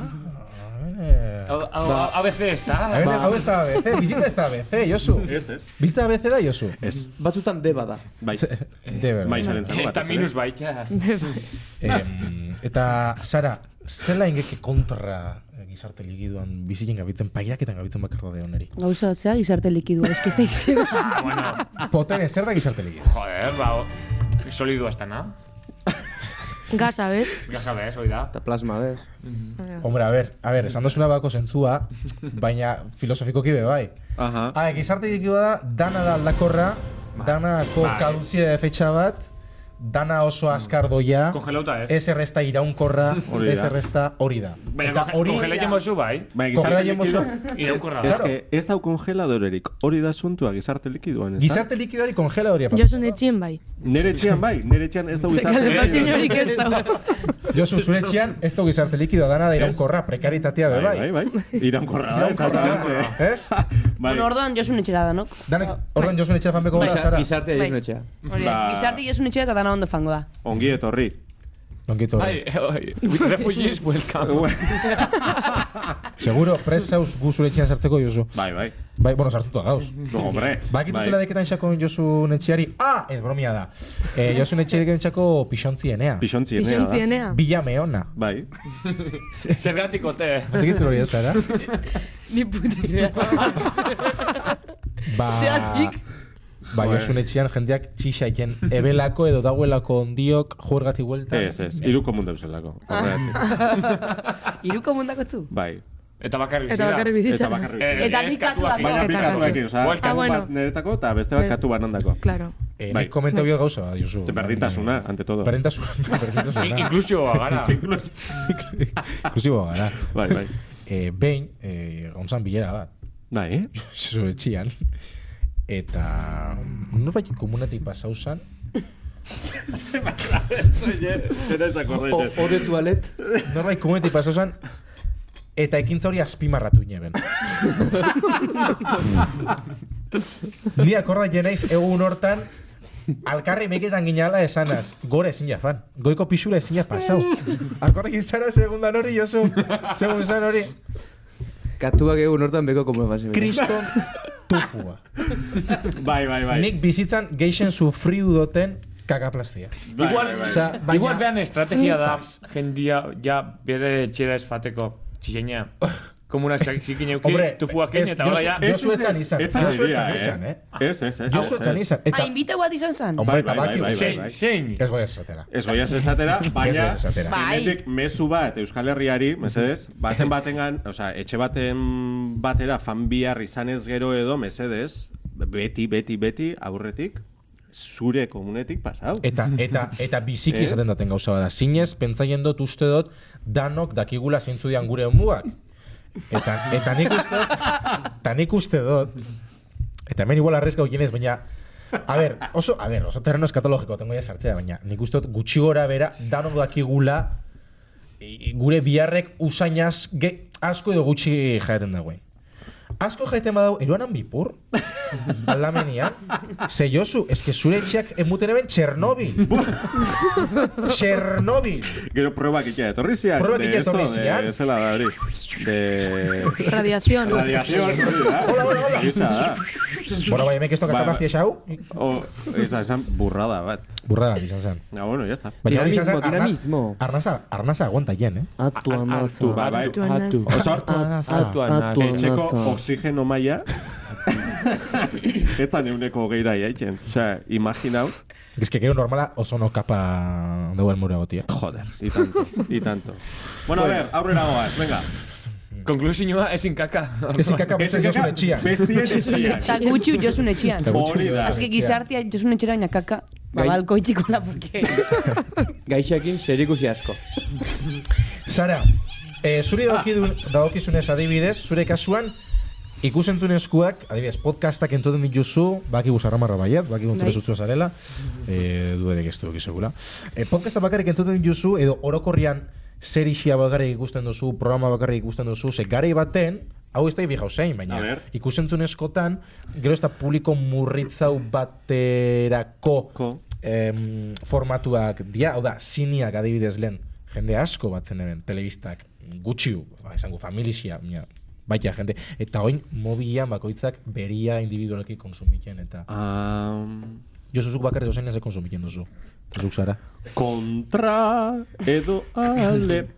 Speaker 2: Eh,
Speaker 3: Hau- hau- ABC ez da?
Speaker 2: a ver,
Speaker 4: ba.
Speaker 2: Hau ez da ABC, bizitza ez da ABC, Josu.
Speaker 1: Ez, ez.
Speaker 2: Bizitza ABC da, Josu.
Speaker 1: Ez.
Speaker 4: Batzutan deba da.
Speaker 1: Bai.
Speaker 2: De berba.
Speaker 1: Maixaren zako
Speaker 3: Eta minus baita.
Speaker 2: Em, eta, Sara, zela ingeke kontra eh, gizarte ligiduan bizien gabitzen paiaketan gabitzen bakarra de honeri.
Speaker 5: Gauza batzea gizarte likidua, eski ez da izena.
Speaker 3: Ah, bueno.
Speaker 2: Poten, zer da gizarte ligidu?
Speaker 3: Joder, oh. ba... Solidua ez da, na?
Speaker 6: Gasa, bez?
Speaker 3: Gaza bez, hoi da.
Speaker 4: Eta plasma, bez.
Speaker 2: Hombre, a ver, a ver, esan dozuna bako zentzua, baina filosofikoki be bai.
Speaker 1: Aha.
Speaker 2: Ah, gizarte likidua da, dana da aldakorra, danako
Speaker 3: Bai.
Speaker 2: kaduzia de fetxa bat, dana oso azkar doia,
Speaker 3: Kongelauta ez.
Speaker 2: ez errezta iraunkorra,
Speaker 1: Mm. Hori da.
Speaker 2: ez errezta hori da.
Speaker 3: Baina
Speaker 2: Eta hori,
Speaker 3: kongela jemo zu, bai?
Speaker 1: Bai,
Speaker 2: kongela
Speaker 1: gizarte
Speaker 2: jemoso,
Speaker 1: likidoa-
Speaker 3: Iraunkorra.
Speaker 1: Ez
Speaker 2: Claro.
Speaker 1: que ez dau kongeladorerik. Hori da suntua gizarte likidoan, ez da?
Speaker 2: gizarte likidari kongela doria.
Speaker 6: Josun etxien bai.
Speaker 1: Nere etxean bai, nere etxean ez dau
Speaker 6: Ze
Speaker 1: gizarte
Speaker 6: kalefaziorik
Speaker 1: eh,
Speaker 6: ez dago.
Speaker 2: Josu, zure etxean, ez du gizarte likidoa dana da iraunkorra, prekaritatea be
Speaker 1: Bai,
Speaker 2: bai.
Speaker 1: bai, bai. Iraunkorra da,
Speaker 2: Iraunkorra Eh?
Speaker 1: exactamente.
Speaker 2: da, ez?
Speaker 1: Bai.
Speaker 5: Bueno, orduan josun etxera danok.
Speaker 2: Danek, orduan Josun etxean fanbeko gara,
Speaker 4: Gizar-
Speaker 2: Sara.
Speaker 4: Gizarte
Speaker 5: Bai.
Speaker 4: jaizun etxea.
Speaker 5: Hori,
Speaker 1: Ba.
Speaker 5: gizarte josun etxera eta dana ondo fango da.
Speaker 1: Ongi etorri.
Speaker 2: Nonkito.
Speaker 3: Bai, oi, with refugees welcome.
Speaker 2: Seguro, prest zauz gu zure etxean sartzeko, Josu.
Speaker 1: Bai, bai.
Speaker 2: Bai, bueno, sartuta gauz.
Speaker 1: No, hombre. Bai.
Speaker 2: Bakitu zela deketan xako Josun etxeari, ah, ez bromia da. Eh, Josun etxeari deketan pixontzienea.
Speaker 1: Pixontzienea da.
Speaker 5: Ah.
Speaker 6: Pixontzienea.
Speaker 2: Bilame ona.
Speaker 1: eh, Bai.
Speaker 3: Zergatik ote.
Speaker 2: Zekitu hori ez, Sara?
Speaker 5: Ni puta idea.
Speaker 2: Ba...
Speaker 5: Zeatik.
Speaker 2: Ba,
Speaker 1: Joder.
Speaker 2: Josun etxean jendeak txixaiken ebelako edo dauelako ondiok juergati gueltan.
Speaker 1: Ez, ez. Iruko mundu euselako.
Speaker 6: Ah.
Speaker 1: Horregatik.
Speaker 5: Iruko mundako zu.
Speaker 1: Bai.
Speaker 3: Eta bakarrik bizi
Speaker 6: Eta
Speaker 3: da.
Speaker 6: bakarrik
Speaker 1: Eta
Speaker 6: bizitza.
Speaker 1: bakarrik.
Speaker 3: Eh,
Speaker 1: bizi.
Speaker 5: Eta
Speaker 3: eh,
Speaker 5: bi
Speaker 3: eskatuak.
Speaker 5: katuak.
Speaker 1: Baina
Speaker 6: Eta
Speaker 1: bi katuekin, oza, katu
Speaker 3: Welcome.
Speaker 6: Ah,
Speaker 1: bat
Speaker 6: bueno.
Speaker 1: niretako eta beste bat
Speaker 6: Ber-
Speaker 1: katu banandako.
Speaker 6: Claro.
Speaker 2: Eh,
Speaker 1: Bai.
Speaker 2: nik komenta biot gauza, Eh, Josu.
Speaker 1: Berdintasuna, ante todo.
Speaker 2: Berdintasuna.
Speaker 3: I-
Speaker 2: Berdintasuna.
Speaker 3: Inklusioa gara.
Speaker 2: Inklusibo gara.
Speaker 1: Bai, bai.
Speaker 2: Eh, behin, eh, gontzan bilera bat.
Speaker 1: Bai, eh?
Speaker 2: Zure etxian. Eta... Norbait komunatik pasau zan.
Speaker 1: Eta ez
Speaker 4: O, o de toalet.
Speaker 2: Norbait komunatik pasau zan. Eta ekintza hori azpimarratu ineben. Ni akorda jenaiz egun hortan Alkarri meketan ginala esanaz, gore ezin jafan, goiko pixura ezin pasau. Akordekin zara segundan hori, Josu, segun zan hori.
Speaker 4: Katuak egun hortan beko komo efansi.
Speaker 2: Kriston tufua.
Speaker 1: Bai, bai, bai.
Speaker 2: Nik bizitzan geixen sufriu doten kakaplastia.
Speaker 1: Bai,
Speaker 3: Igual-
Speaker 1: bai, bai.
Speaker 2: Osea, baina-
Speaker 3: Igual behan estrategia da jendia ja bere etxera esfateko txilenia. Komuna zikin euki,
Speaker 2: Hombre,
Speaker 3: tufuakin
Speaker 2: ez-
Speaker 3: eta hola ja...
Speaker 1: eh,
Speaker 2: Josu- Josu etzan izan.
Speaker 1: Ez zan
Speaker 2: Josu
Speaker 1: izan,
Speaker 2: etzan izan,
Speaker 1: eh?
Speaker 2: eh?
Speaker 1: Ez, ez, ez.
Speaker 2: Josu
Speaker 1: ez,
Speaker 2: etzan
Speaker 1: ez.
Speaker 2: izan.
Speaker 5: Ah,
Speaker 2: Eta,
Speaker 5: inbita bat izan zan.
Speaker 2: hombre,
Speaker 1: Bai, bai, bai,
Speaker 2: tabaki,
Speaker 1: bai, bai.
Speaker 3: Zein, zein.
Speaker 2: ez goiaz esatera.
Speaker 1: Ez goiaz esatera, baina...
Speaker 2: goiaz esatera.
Speaker 5: Bai.
Speaker 1: Hemendik mezu bat Euskal Herriari, mesedez, baten batengan, osea, etxe baten batera fan bihar izanez gero edo, mesedez, beti, beti, beti, aurretik, zure komunetik pasau.
Speaker 2: Eta, eta, eta biziki
Speaker 1: Ez?
Speaker 2: izaten daten gauza bada. Zinez, pentsaien dut uste dut, danok dakigula zintzu dian gure onmugak. Eta, eta nik uste dut, eta nik uste dut, eta hemen igual arrezkau jenez, baina, a ber, oso, a ber, oso terreno eskatologiko tengo ya sartzea, baina nik uste dut gutxi gora bera, danok dakigula, i- i- gure biharrek usainaz ge, asko edo gutxi jaeten dagoen. Asko jaiten badau, eruanan bipur? aldamenean. Ze Josu, eske zure etxeak emuten eben Txernobil. Txernobil.
Speaker 1: Gero probak ikia etorri zian.
Speaker 2: Probak
Speaker 1: de
Speaker 2: ikia etorri
Speaker 1: esto, de-
Speaker 2: zian.
Speaker 1: Zela da hori. De...
Speaker 6: Radiación.
Speaker 1: Radiazioa hori da.
Speaker 2: Hola, hola, hola.
Speaker 1: Gisa da.
Speaker 2: Bueno, bai, hemek ez
Speaker 1: Ba,
Speaker 2: tokatzen
Speaker 1: ba.
Speaker 2: bazti esau.
Speaker 1: O, esa, esan burrada bat.
Speaker 2: Burrada, izan zen.
Speaker 1: Na, Ah, bueno, ya está.
Speaker 2: Baina hori izan
Speaker 4: Dinamismo,
Speaker 2: zen, arna-
Speaker 4: dinamismo.
Speaker 2: Arnaza, arnaza aguanta hien, eh?
Speaker 1: hartu,
Speaker 4: Atu anaza.
Speaker 1: bai, bai.
Speaker 4: Atu
Speaker 6: Atu
Speaker 1: anaza.
Speaker 4: anaza.
Speaker 2: Atu
Speaker 4: Atu
Speaker 3: anaza.
Speaker 4: anaza.
Speaker 1: Etxeko oxigeno maila etzan euneko geira jaiken. Osea, imaginau.
Speaker 2: Eske gero normala oso no kapa deuen mure gotia.
Speaker 1: Joder. Y tanto, y tanto. Bueno, a ver, aurrera goaz, venga.
Speaker 3: Eh, Konklusioa ezin kaka.
Speaker 2: Ez ikaka
Speaker 1: Ez
Speaker 2: beste jozun
Speaker 1: kaka,
Speaker 2: etxian.
Speaker 1: Bestien etxian.
Speaker 5: Ba- Eta gutxi josun etxean.
Speaker 2: Eta gutxi
Speaker 1: Hori da.
Speaker 5: Así que gizartia josun etxera baina kaka. Ba,
Speaker 4: Bai.
Speaker 5: balko itxikola, porque...
Speaker 4: Gaixakin zerikusi asko.
Speaker 2: Sara, eh, zuri daukidun, daukizunez adibidez, zure kasuan, ikusentzunezkoak, adibidez, podcastak entzuten dituzu, baki guzarramarra baiat, baki guntzure
Speaker 6: Bai.
Speaker 2: zutzua zarela, eh, duenek ez duek segula. Eh, podcasta bakarrik entzuten dituzu, edo orokorrian zer isia bakarrik ikusten duzu, programa bakarrik ikusten duzu, ze garei baten, hau ez da ibi jauzein,
Speaker 1: A
Speaker 2: baina
Speaker 1: ber.
Speaker 2: ikusentzunezkotan, gero ez da publiko murritzau baterako
Speaker 1: Ko.
Speaker 2: em, formatuak dia, hau da, zineak adibidez lehen, jende asko batzen hemen, telebistak gutxiu, ba, esango familixia, baina baita Bai, jende. Eta oin, mobilan bakoitzak beria individualki konsumiten, eta
Speaker 1: Um,
Speaker 2: josuzuk bakarri zozen ez konsumiten duzu. Zuk zara.
Speaker 1: kontra edo ale.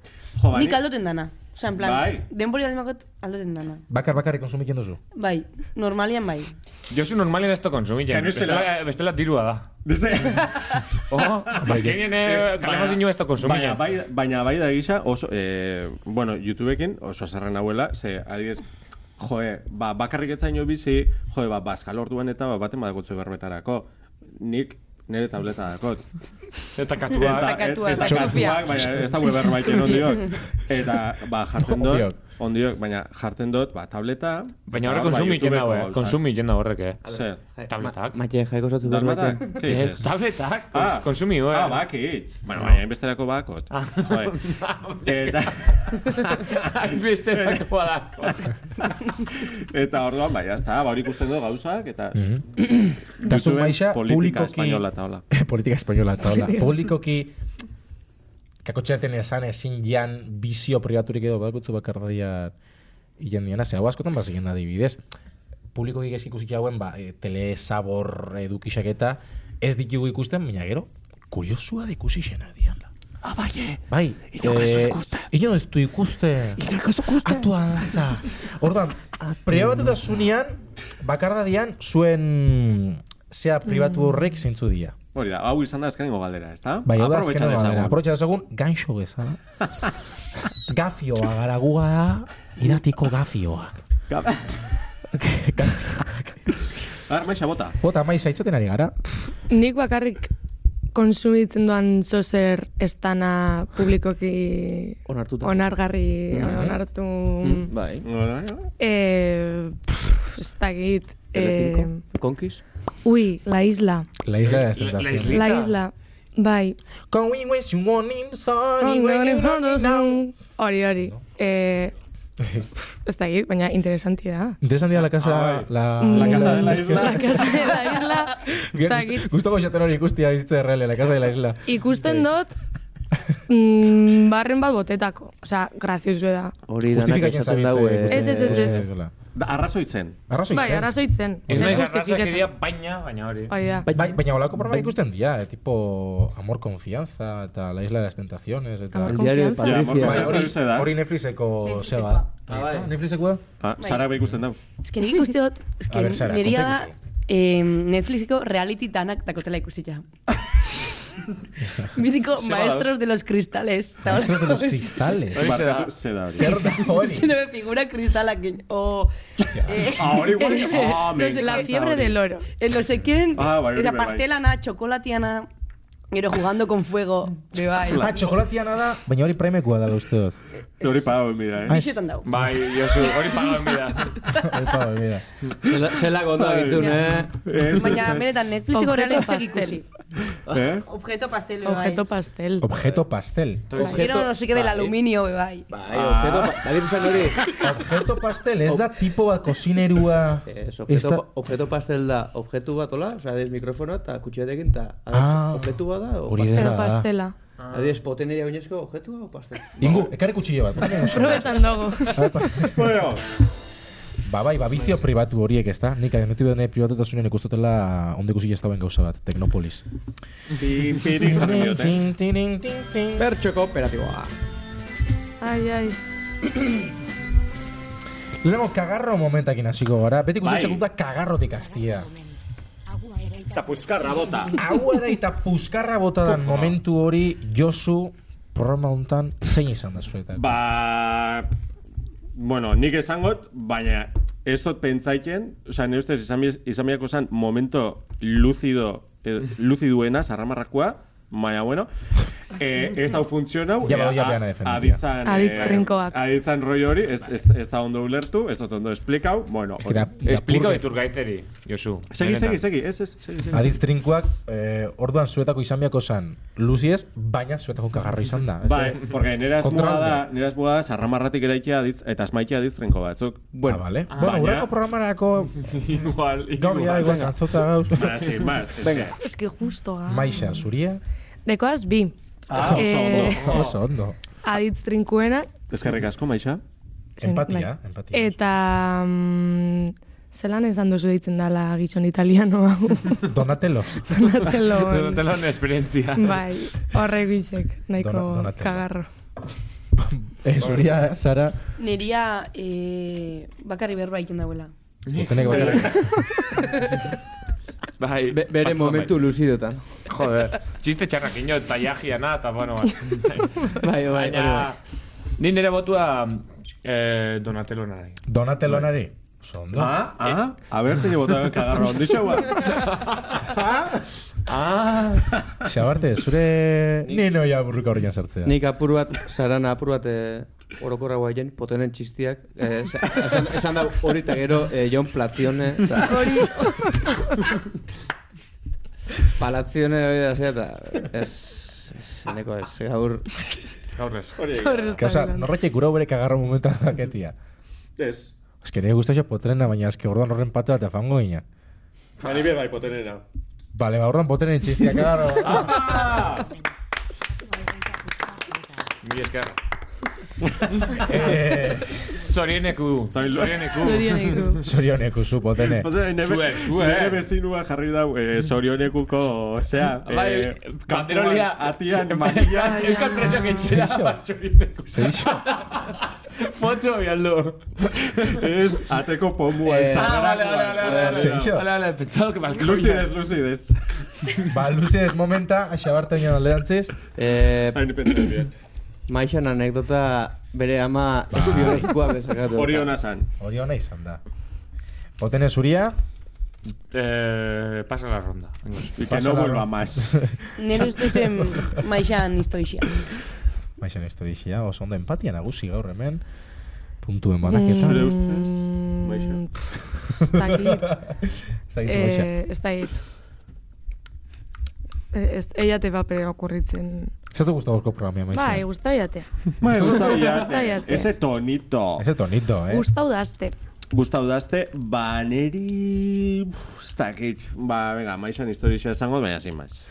Speaker 1: Jo, ba,
Speaker 5: Nik aldoten dana. Osa, en plan,
Speaker 1: Bai.
Speaker 5: denbori aldimakot aldoten dana.
Speaker 2: Bakar bakarri konsumiten duzu.
Speaker 5: Bai, normalian bai.
Speaker 3: Josu normalen esto
Speaker 1: Que
Speaker 3: konsumitzen.
Speaker 1: no se la-
Speaker 3: Bestela, bestela dirua da.
Speaker 1: Dice-
Speaker 3: Ojo, bazkenien eh,
Speaker 1: Ez,
Speaker 3: kalemos inu esto
Speaker 1: baina,
Speaker 3: konsumitzen.
Speaker 1: bai, baina bai da gisa, oso, eh, bueno, YouTubeekin oso zerren hauela, ze, adibidez, joe, ba, bakarrik etzaino bizi, joe, ba, bazkal orduan eta ba, baten badakotzu berbetarako. Nik nire tableta dakot.
Speaker 3: Eta katua.
Speaker 5: katuak,
Speaker 1: eta
Speaker 5: estufia.
Speaker 1: katuak, baina ez da weber baiten ondiok. Eta, ba, jartzen
Speaker 2: Ondiok.
Speaker 1: dut, ondiok, baina jartzen dut, ba, tableta...
Speaker 3: Baina
Speaker 1: ba,
Speaker 3: horre
Speaker 1: ba,
Speaker 3: konsumitzen
Speaker 1: YouTubeko
Speaker 3: hau, eh.
Speaker 1: gauzak.
Speaker 3: Konsumitzen hau horrek, eh.
Speaker 1: Zer.
Speaker 3: Tabletak.
Speaker 4: Matxe, jaiko zotu
Speaker 1: Dalmatak?
Speaker 4: berbaten.
Speaker 1: Ke
Speaker 3: Eh,
Speaker 1: dices?
Speaker 3: Tabletak, kons- konsumiu, eh.
Speaker 1: Ah, baki. Bueno, baina inbesterako bakot. Joe. Eta...
Speaker 3: Beste dakoa da.
Speaker 1: Eta orduan, bai, hasta, ba, hori ikusten du gauzak, eta... Mm
Speaker 2: Eta zu maixa,
Speaker 1: politika
Speaker 2: Mm-hmm. publikoki-
Speaker 1: espainola eta hola.
Speaker 2: Politika espainola, eta hola. Polikoki, kakotxeaten esan ezin jan bizio privaturik edo bakutzu bakardadia hilen diana, ze hau askotan bazien da dibidez. Publikoki ez ikusik hauen, ba, e, telesabor edukixak eta ez ditugu ikusten, baina gero, kuriosua de ikusi xena dian.
Speaker 7: Ah, vale.
Speaker 2: Bai,
Speaker 7: Inork ez du ikusten.
Speaker 2: Ino ez du ikusten.
Speaker 7: Inork ez du ikusten.
Speaker 2: Atua danza. Orduan, pribatutasunean, bakardadian, zuen zea pribatu horrek zeintzu dira.
Speaker 1: Hori da, hau izan da azkenengo galdera, ezta?
Speaker 2: Bai, hau da
Speaker 1: Aprobetxa
Speaker 2: azkena
Speaker 1: dezagun.
Speaker 2: badera. Aprobetxa dezagun, ganxo bezala. gafioa gara guga da, iratiko gafioak. Gafioak.
Speaker 1: Ar, maixa bota.
Speaker 2: Bota, maiz, aitzoten ari gara.
Speaker 6: Nik bakarrik konsumitzen doan zozer estana publikoki
Speaker 4: Onartuta.
Speaker 6: onargarri, onartu...
Speaker 4: Mm, Mhm. Bai.
Speaker 6: Em. Eh, pff, ez dakit. Eh,
Speaker 4: Telecinco. Konkiz.
Speaker 6: ui, la isla.
Speaker 2: La isla de la
Speaker 3: La
Speaker 2: tentación.
Speaker 3: islita.
Speaker 6: La isla. Bai.
Speaker 2: Going with you morning sun, when you don't know.
Speaker 6: Hori, hori. Eh, pff, ez dakit, baina interesanti da.
Speaker 2: Interesan dira la
Speaker 1: Ah,
Speaker 2: casa...
Speaker 1: bai.
Speaker 2: La,
Speaker 1: La casa de la isla.
Speaker 6: La casa de la isla. Ez dakit.
Speaker 2: Gustavo xaten hori ikustia bizitza errele, la casa de la isla.
Speaker 6: Ikusten
Speaker 4: Bai.
Speaker 6: dut, mm, barren bat botetako. Osea, graziozue da.
Speaker 4: Hori danak
Speaker 2: Justifikatzen
Speaker 4: esaten dau.
Speaker 2: zabiltza.
Speaker 4: eh,
Speaker 6: Ez, ez, ez, ez.
Speaker 1: Da, arrazoitzen.
Speaker 2: Arrazoi.
Speaker 6: Bai, arrazoitzen.
Speaker 3: Ez
Speaker 6: Osea,
Speaker 3: naiz
Speaker 6: justifikatu.
Speaker 3: arrazak edia baina, baina hori.
Speaker 6: Hori da.
Speaker 4: Bai,
Speaker 2: Bai, baina holako programa ikusten dira, eh, tipo Amor Confianza eta La Isla de las Tentaciones eta
Speaker 6: Amor
Speaker 4: El diario de
Speaker 6: Confianza.
Speaker 1: Ja,
Speaker 4: Patricia.
Speaker 1: amor,
Speaker 2: Bai, hori,
Speaker 1: Netflixe da.
Speaker 2: hori Netflixeko
Speaker 5: Netflixekoa.
Speaker 2: zeba. Ah, bai. Netflixekoa?
Speaker 1: Ah,
Speaker 5: Bai.
Speaker 1: Sara bai ikusten dau.
Speaker 5: Ez que nik ikuste dut, ez
Speaker 2: A
Speaker 5: que
Speaker 2: ver, Sara,
Speaker 5: neria da
Speaker 2: konta
Speaker 5: eh, Netflixeko reality danak dakotela ikusita. Biziko maestros de los cristales. Eta hor-
Speaker 2: Estos de los cristales.
Speaker 3: Hori zera.
Speaker 1: Barkatu, Bai, Zera hori.
Speaker 2: Zer da hori?
Speaker 5: Se me figura cristalak. O... eh,
Speaker 1: Ah, hori guai. Ah, me
Speaker 6: No sé, la
Speaker 1: encanta
Speaker 6: fiebre
Speaker 1: hori.
Speaker 6: del oro.
Speaker 5: Eh, no sé quién.
Speaker 1: Ah, bai, hori
Speaker 5: esa
Speaker 1: bai, bai.
Speaker 5: pastelana, chocolatiana. Pero jugando con fuego, eh. bebai.
Speaker 2: Ah, txokolatiana da, baina hori premekoa da uste dut.
Speaker 1: Hori pagau mira, eh?
Speaker 2: Ai,
Speaker 5: Bixetan dau.
Speaker 3: Bai, Josu, hori pagau mira.
Speaker 2: Epa, mira.
Speaker 4: Zela- Zelako ondo egitun, eh?
Speaker 5: Bai.
Speaker 1: Ez,
Speaker 5: Baina,
Speaker 1: ez, ez.
Speaker 5: benetan, Netflixeko
Speaker 6: Objeto
Speaker 5: realitzak
Speaker 6: pastel.
Speaker 5: ikusi.
Speaker 1: Eh?
Speaker 5: Objeto pastel, bebai.
Speaker 6: Objeto eh. pastel.
Speaker 2: Objeto pastel.
Speaker 5: Quiero no sé qué del
Speaker 4: Bai.
Speaker 5: aluminio, eh. bebai.
Speaker 4: Bai, objeto... pa- David esan hori.
Speaker 2: Objeto pastel, ez da tipo bat kosinerua...
Speaker 4: Ez,
Speaker 2: Ez
Speaker 4: Eh, objeto,
Speaker 2: da...
Speaker 4: pa- objeto pastel da, objetu bat, hola? Osa, adez mikrofonoa eta kutsatekin, eta
Speaker 2: Ah,
Speaker 4: objetu bat da, o
Speaker 2: hori
Speaker 4: pastel?
Speaker 6: Pero
Speaker 2: Ederra da.
Speaker 6: pastela.
Speaker 4: Adez, poteneria oinezko objetua o pastel?
Speaker 2: Ingu, ekarri kutxile bat.
Speaker 6: Probetan dago.
Speaker 1: Bueno,
Speaker 2: Ba, bai, ba, bizio pribatu horiek, ez eh, da? Nik adenutu dene pribatetasunen ikustotela ondeko zile ez dauen gauza bat, Teknopolis.
Speaker 1: pin, pirin jarri diot, eh?
Speaker 2: Tin, tin, tin, tin, tin.
Speaker 4: Bertxo kooperatiboa.
Speaker 6: Ai, ai.
Speaker 2: Lehenengo kagarro momentakin hasiko gara. Beti
Speaker 1: Bai.
Speaker 2: ikusi txakuta kagarrotik hastia.
Speaker 1: Eta puzkarra bota.
Speaker 2: Hau ere eta puskarra botadan momentu hori Josu programa hontan zein izan da zuretak.
Speaker 1: Ba... Bueno, nik esangot, baina ez dut pentsaiken, oza, nire ustez izan, bi- izan biako zan momento lucido, eh, luciduena, sarramarrakoa, baina bueno, eh, ez hau funtzionau,
Speaker 2: Ja, ba,
Speaker 1: eh,
Speaker 2: ja,
Speaker 1: a-
Speaker 2: beana defenditia.
Speaker 1: aditzan,
Speaker 6: Aditz
Speaker 1: eh,
Speaker 6: trinkoak.
Speaker 1: aditzan rollo hori, ez, ez, ez da ondo ulertu, ez dut ondo esplikau, bueno,
Speaker 2: Ez que da-
Speaker 1: hori.
Speaker 2: da
Speaker 3: Espliko
Speaker 2: purge.
Speaker 3: iturgaizeri, Josu.
Speaker 1: Segi,
Speaker 3: Benetan.
Speaker 1: segi, segi, ez, ez, segi, segi.
Speaker 2: Aditz trinkoak, eh, orduan zuetako izan biako zan, Luzi ez, baina zuetako kagarro izan da. Ez,
Speaker 1: Bai,
Speaker 2: eh?
Speaker 1: porque nera esmoa
Speaker 2: Kontraunda.
Speaker 1: da, nera esmoa da, sarramarratik eraikia aditz, eta asmaikia aditz trenko batzuk.
Speaker 2: Bueno, ah, vale. bueno,
Speaker 1: baina-
Speaker 2: urrako programarako
Speaker 3: Igual,
Speaker 2: gaur ya igual
Speaker 3: igual.
Speaker 2: kantzauta gauz.
Speaker 1: Ba, sin más, es que-
Speaker 6: Es que justo, ga.
Speaker 2: Maixa, zuria,
Speaker 6: Dekoaz bi.
Speaker 1: Ah, oso
Speaker 6: Eh,
Speaker 1: ondo.
Speaker 2: oso ondo.
Speaker 6: Aditz trinkuena.
Speaker 1: Eskerrik asko, Maixa.
Speaker 6: zen-
Speaker 2: Empatia,
Speaker 6: bai.
Speaker 2: empatia.
Speaker 6: Eta... mm, zelan esan duzu deitzen dala gizon italiano hau.
Speaker 2: Donatelo.
Speaker 6: Donatello.
Speaker 3: Donatela una esperientzia.
Speaker 6: Bai, horre bizek, nahiko
Speaker 2: Dona- Donatello.
Speaker 6: kagarro.
Speaker 2: Eh, zuria, Sara.
Speaker 5: Neria eh, bakarri berba egiten dauela.
Speaker 2: zuzeneko bakarrik.
Speaker 3: Bai,
Speaker 4: Be bere
Speaker 3: batzua
Speaker 4: momentu
Speaker 3: bai.
Speaker 4: luzidotan.
Speaker 3: Joder, txiste txarrakiño, eta jajiana, eta bueno, bai.
Speaker 4: Bai, bai, hori bai.
Speaker 3: Baina, ni nire botua eh, Donatello nahi.
Speaker 2: Donatello nari. Oso ondo.
Speaker 1: Ah, ah,
Speaker 3: Eh.
Speaker 1: a ver si llevo todo el cagarro. Dicho, guau.
Speaker 3: Ah,
Speaker 2: Xabarte, zure nino ja burruka horrekin sartzea.
Speaker 4: Nik apur bat, sarana apur bat eh, orokorra guaien, potenen txistiak. Eh, esa- esan, esan da hori eta gero eh, John Platione. Ta,
Speaker 5: Hori,
Speaker 4: Palazione hori da zera eta... Ez... ez Neko ez, gaur...
Speaker 3: gaurrez.
Speaker 6: Horre
Speaker 2: Que, oza, norretik gura bere kagarro momentu daketia.
Speaker 1: Es.
Speaker 2: Ez que nire guztaxo potrena, baina eske orduan horren patea eta fango gina.
Speaker 1: Ani beba hipotenera.
Speaker 2: Bale, ba, orduan potenen txistia kagarro.
Speaker 3: Mi esker.
Speaker 2: Eh,
Speaker 3: Zorieneku, zorieneku.
Speaker 6: Zorionik.
Speaker 2: Zorionek uzu potene.
Speaker 1: Zue,
Speaker 3: Zue, zue.
Speaker 1: Nire bezinua jarri dau eh, sorionekuko, osea,
Speaker 3: Bai, banderolia.
Speaker 1: eh, atian, manian.
Speaker 3: Euskal preso que txera,
Speaker 2: Zeixo.
Speaker 3: bat zorieneku.
Speaker 2: Zeixo.
Speaker 3: Foto bialdo.
Speaker 1: Ez, ateko pomua,
Speaker 4: Eh,
Speaker 1: izan
Speaker 3: Ah, vale,
Speaker 1: garakoa.
Speaker 3: vale, vale, vale.
Speaker 2: Zeixo.
Speaker 3: Vale, vale, pensado que balcoia.
Speaker 1: Lucides, lucides.
Speaker 2: Ba, luze ez momenta, xabarte baina alderantziz.
Speaker 4: Eh,
Speaker 1: Hain pentsen bien.
Speaker 4: Maixan anekdota bere ama biologikoa bezakatu.
Speaker 1: Hori hona zan.
Speaker 2: Hori hona izan da. Potene zuria,
Speaker 3: Eh, pasa la ronda. Venga.
Speaker 1: Y que
Speaker 2: Pasa
Speaker 1: no
Speaker 2: la
Speaker 1: vuelva
Speaker 2: ronda.
Speaker 1: más.
Speaker 5: nire ustez em, maixan istoixia.
Speaker 2: baixan ez dixia, oso ondo empatia nagusi gaur hemen. Puntuen banaketa.
Speaker 1: Zure ustez, Maixo.
Speaker 6: Mm, Ez dakit.
Speaker 2: Ez da gitu baixa.
Speaker 6: Eh, ez dakit. Eh, Ez, eiate bape okurritzen.
Speaker 2: Ez da guztu gaurko programia, maixa.
Speaker 6: Bai, gustau eiate.
Speaker 1: Me gusta
Speaker 6: Gusta
Speaker 1: Villarte.
Speaker 6: Villarte.
Speaker 1: Ese tonito.
Speaker 2: Ese tonito, eh?
Speaker 6: Gustau dazte.
Speaker 1: Gustau dazte, ba, neri... Uf, Ez dakit, ba, venga, maizan historia esango, baina sin más.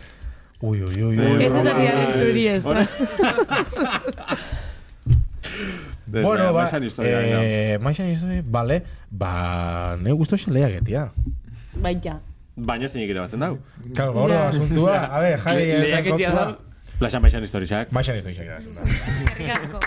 Speaker 2: Ui, ui, ui,
Speaker 1: Eh,
Speaker 2: ui.
Speaker 6: Ez ez
Speaker 1: broma,
Speaker 6: adianek
Speaker 1: eh,
Speaker 6: zuri ez da.
Speaker 1: hori- Des,
Speaker 2: Bueno, ba,
Speaker 1: maizan historia, eh...
Speaker 2: eh, maixan historia, bale, ba, ne guztu xe lehaketia.
Speaker 5: Baita.
Speaker 1: Baina zeinik ere bazten dau.
Speaker 2: Claro, ba, hori
Speaker 6: Ja.
Speaker 2: asuntua, a ver, jari,
Speaker 3: Le-
Speaker 2: eta
Speaker 3: lehiaketia
Speaker 2: kontua.
Speaker 3: da-
Speaker 1: Plaza maizan historiak.
Speaker 2: Maixan historia ere asuntua.
Speaker 6: Eskerrik asko.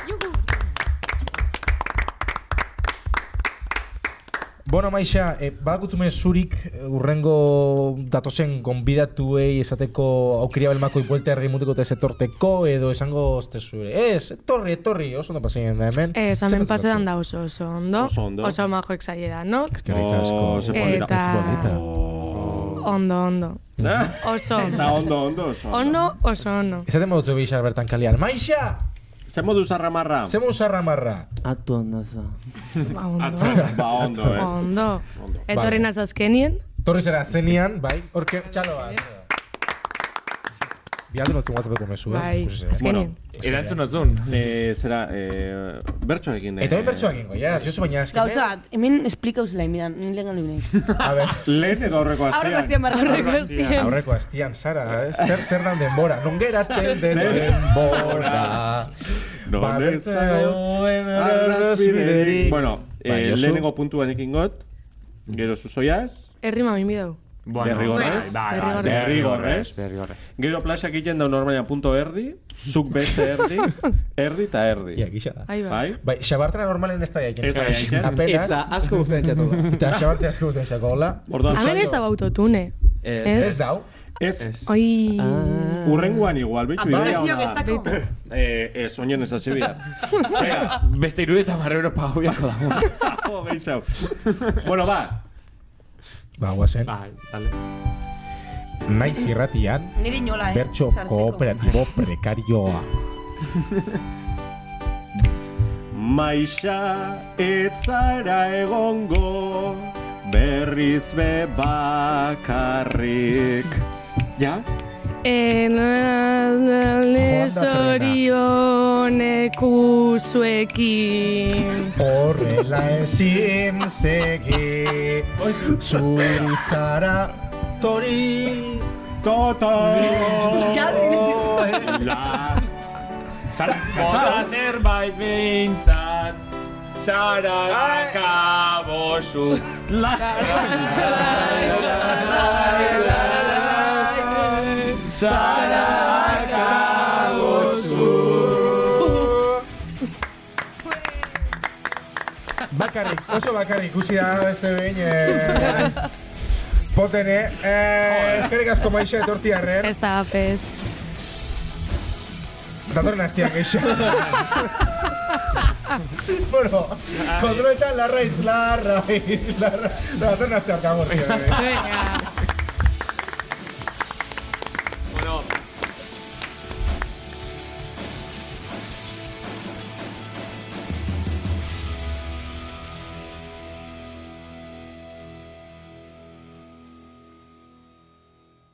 Speaker 2: Bueno, maixa, eh, badakutzume zurik eh, urrengo datozen gonbidatuei esateko aukeria belmako ipuelte herri mutiko eta etorteko edo esango ostezure. Ez, etorri, etorri, oso ondo pasean da hemen.
Speaker 6: Eh, Zamen
Speaker 2: Zer
Speaker 6: pasedan
Speaker 2: pentsatzen?
Speaker 6: da oso oso ondo.
Speaker 1: Oso ondo.
Speaker 6: Oso majoek zaieda, no?
Speaker 2: Eskerrik asko.
Speaker 1: Oh, ze polita.
Speaker 6: Eta-
Speaker 2: Ez polita.
Speaker 6: Ondo, ondo.
Speaker 1: Eh. Eta
Speaker 6: Oso.
Speaker 1: ondo, ondo, oso.
Speaker 6: Ondo, oso ondo.
Speaker 2: Ezaten modutu bixar bertan kalian. Maixa!
Speaker 1: Zer modu zarramarra?
Speaker 2: Zer modu zarramarra?
Speaker 4: Atu handaza.
Speaker 6: Ba, ondo.
Speaker 1: Ba, ondo, eh.
Speaker 6: Ondo. Etorri
Speaker 2: Vale.
Speaker 6: naz azkenien.
Speaker 2: Torri zera zenian, bai, orke, txalo bat. Bialde notu guatzapeko mesu, eh?
Speaker 6: Bai,
Speaker 2: Ikusi zer.
Speaker 6: azkenien.
Speaker 3: Erantzun otzun.
Speaker 1: Eh, zera, eh, bertsoarekin. eh,
Speaker 2: Eta hori bertsoak egingo, ja, jozu baina azkenean...
Speaker 5: Gauza, bat, hemen esplikauz lai, miran, nilegan legan librein.
Speaker 2: A ber,
Speaker 1: Lehen edo aurreko astean.
Speaker 5: Aurreko astean barra.
Speaker 6: Aurreko aztien.
Speaker 2: aurreko aztian, Sara, eh? zer, zer dan denbora, non geratzen den denbora. eh,
Speaker 1: No,
Speaker 2: Ba,
Speaker 1: ez dago arrazpiderik. eh, Bueno,
Speaker 2: Bai,
Speaker 1: eh,
Speaker 2: Josu.
Speaker 1: lehenengo puntuan ekin got, gero zuzoiaz,
Speaker 6: Herri mamin bidau.
Speaker 1: Derrigorrez.
Speaker 3: Bai, bai,
Speaker 6: Derrigorrez.
Speaker 1: Derrigorrez. gero plasak egiten da normalean punto erdi, zuk beste erdi, erdi eta erdi.
Speaker 2: Ia, gisa da.
Speaker 6: Ahí va.
Speaker 1: Bai?
Speaker 2: Bai, xabartena normalen ez da jaiken.
Speaker 1: Ez da jaiken.
Speaker 2: Apenas,
Speaker 4: Eta asko guztien txatu ba.
Speaker 2: eta xabartena asko guztien xako, hola.
Speaker 1: Orduan,
Speaker 6: Hemen ez da bautotune.
Speaker 4: Ez.
Speaker 2: Ez
Speaker 6: Ez.
Speaker 2: dau.
Speaker 1: ez,
Speaker 6: Oi.
Speaker 1: urrengoan igual, bitu.
Speaker 5: Aplikazioak ez dako.
Speaker 1: Eh, ez, oinen ez hasi bida. Venga,
Speaker 3: Beste iru eta marrero pagoiako dago.
Speaker 1: jo, gehiago. Bueno, ba,
Speaker 2: Ba, guazen.
Speaker 1: Ah.
Speaker 3: Bai, dale.
Speaker 2: Naiz irratian,
Speaker 5: Nire inola, eh?
Speaker 2: bertso
Speaker 5: sartzeko.
Speaker 2: kooperatibo prekarioa.
Speaker 1: Maixa etzara egongo berriz be bakarrik. Ja?
Speaker 6: En alde
Speaker 2: Joan da trena.
Speaker 6: zorionek uzuekin.
Speaker 2: Horrela ezin segi, zuri zara tori.
Speaker 1: Toto! La! Zara,
Speaker 3: Bota
Speaker 1: kanta!
Speaker 3: zerbait behintzat, zara akabozu. Zara akabozu.
Speaker 2: Bakarrik, oso bakarrik ikusi da beste behin. Eh, potene, eh, eskerrik asko maixa etorti arren,
Speaker 6: Ez da apes.
Speaker 2: datorren hastiak eixa. bueno, kontroletan larraiz, larraiz, larraiz, datorren hastiak dago. tío, eh.
Speaker 6: Venga.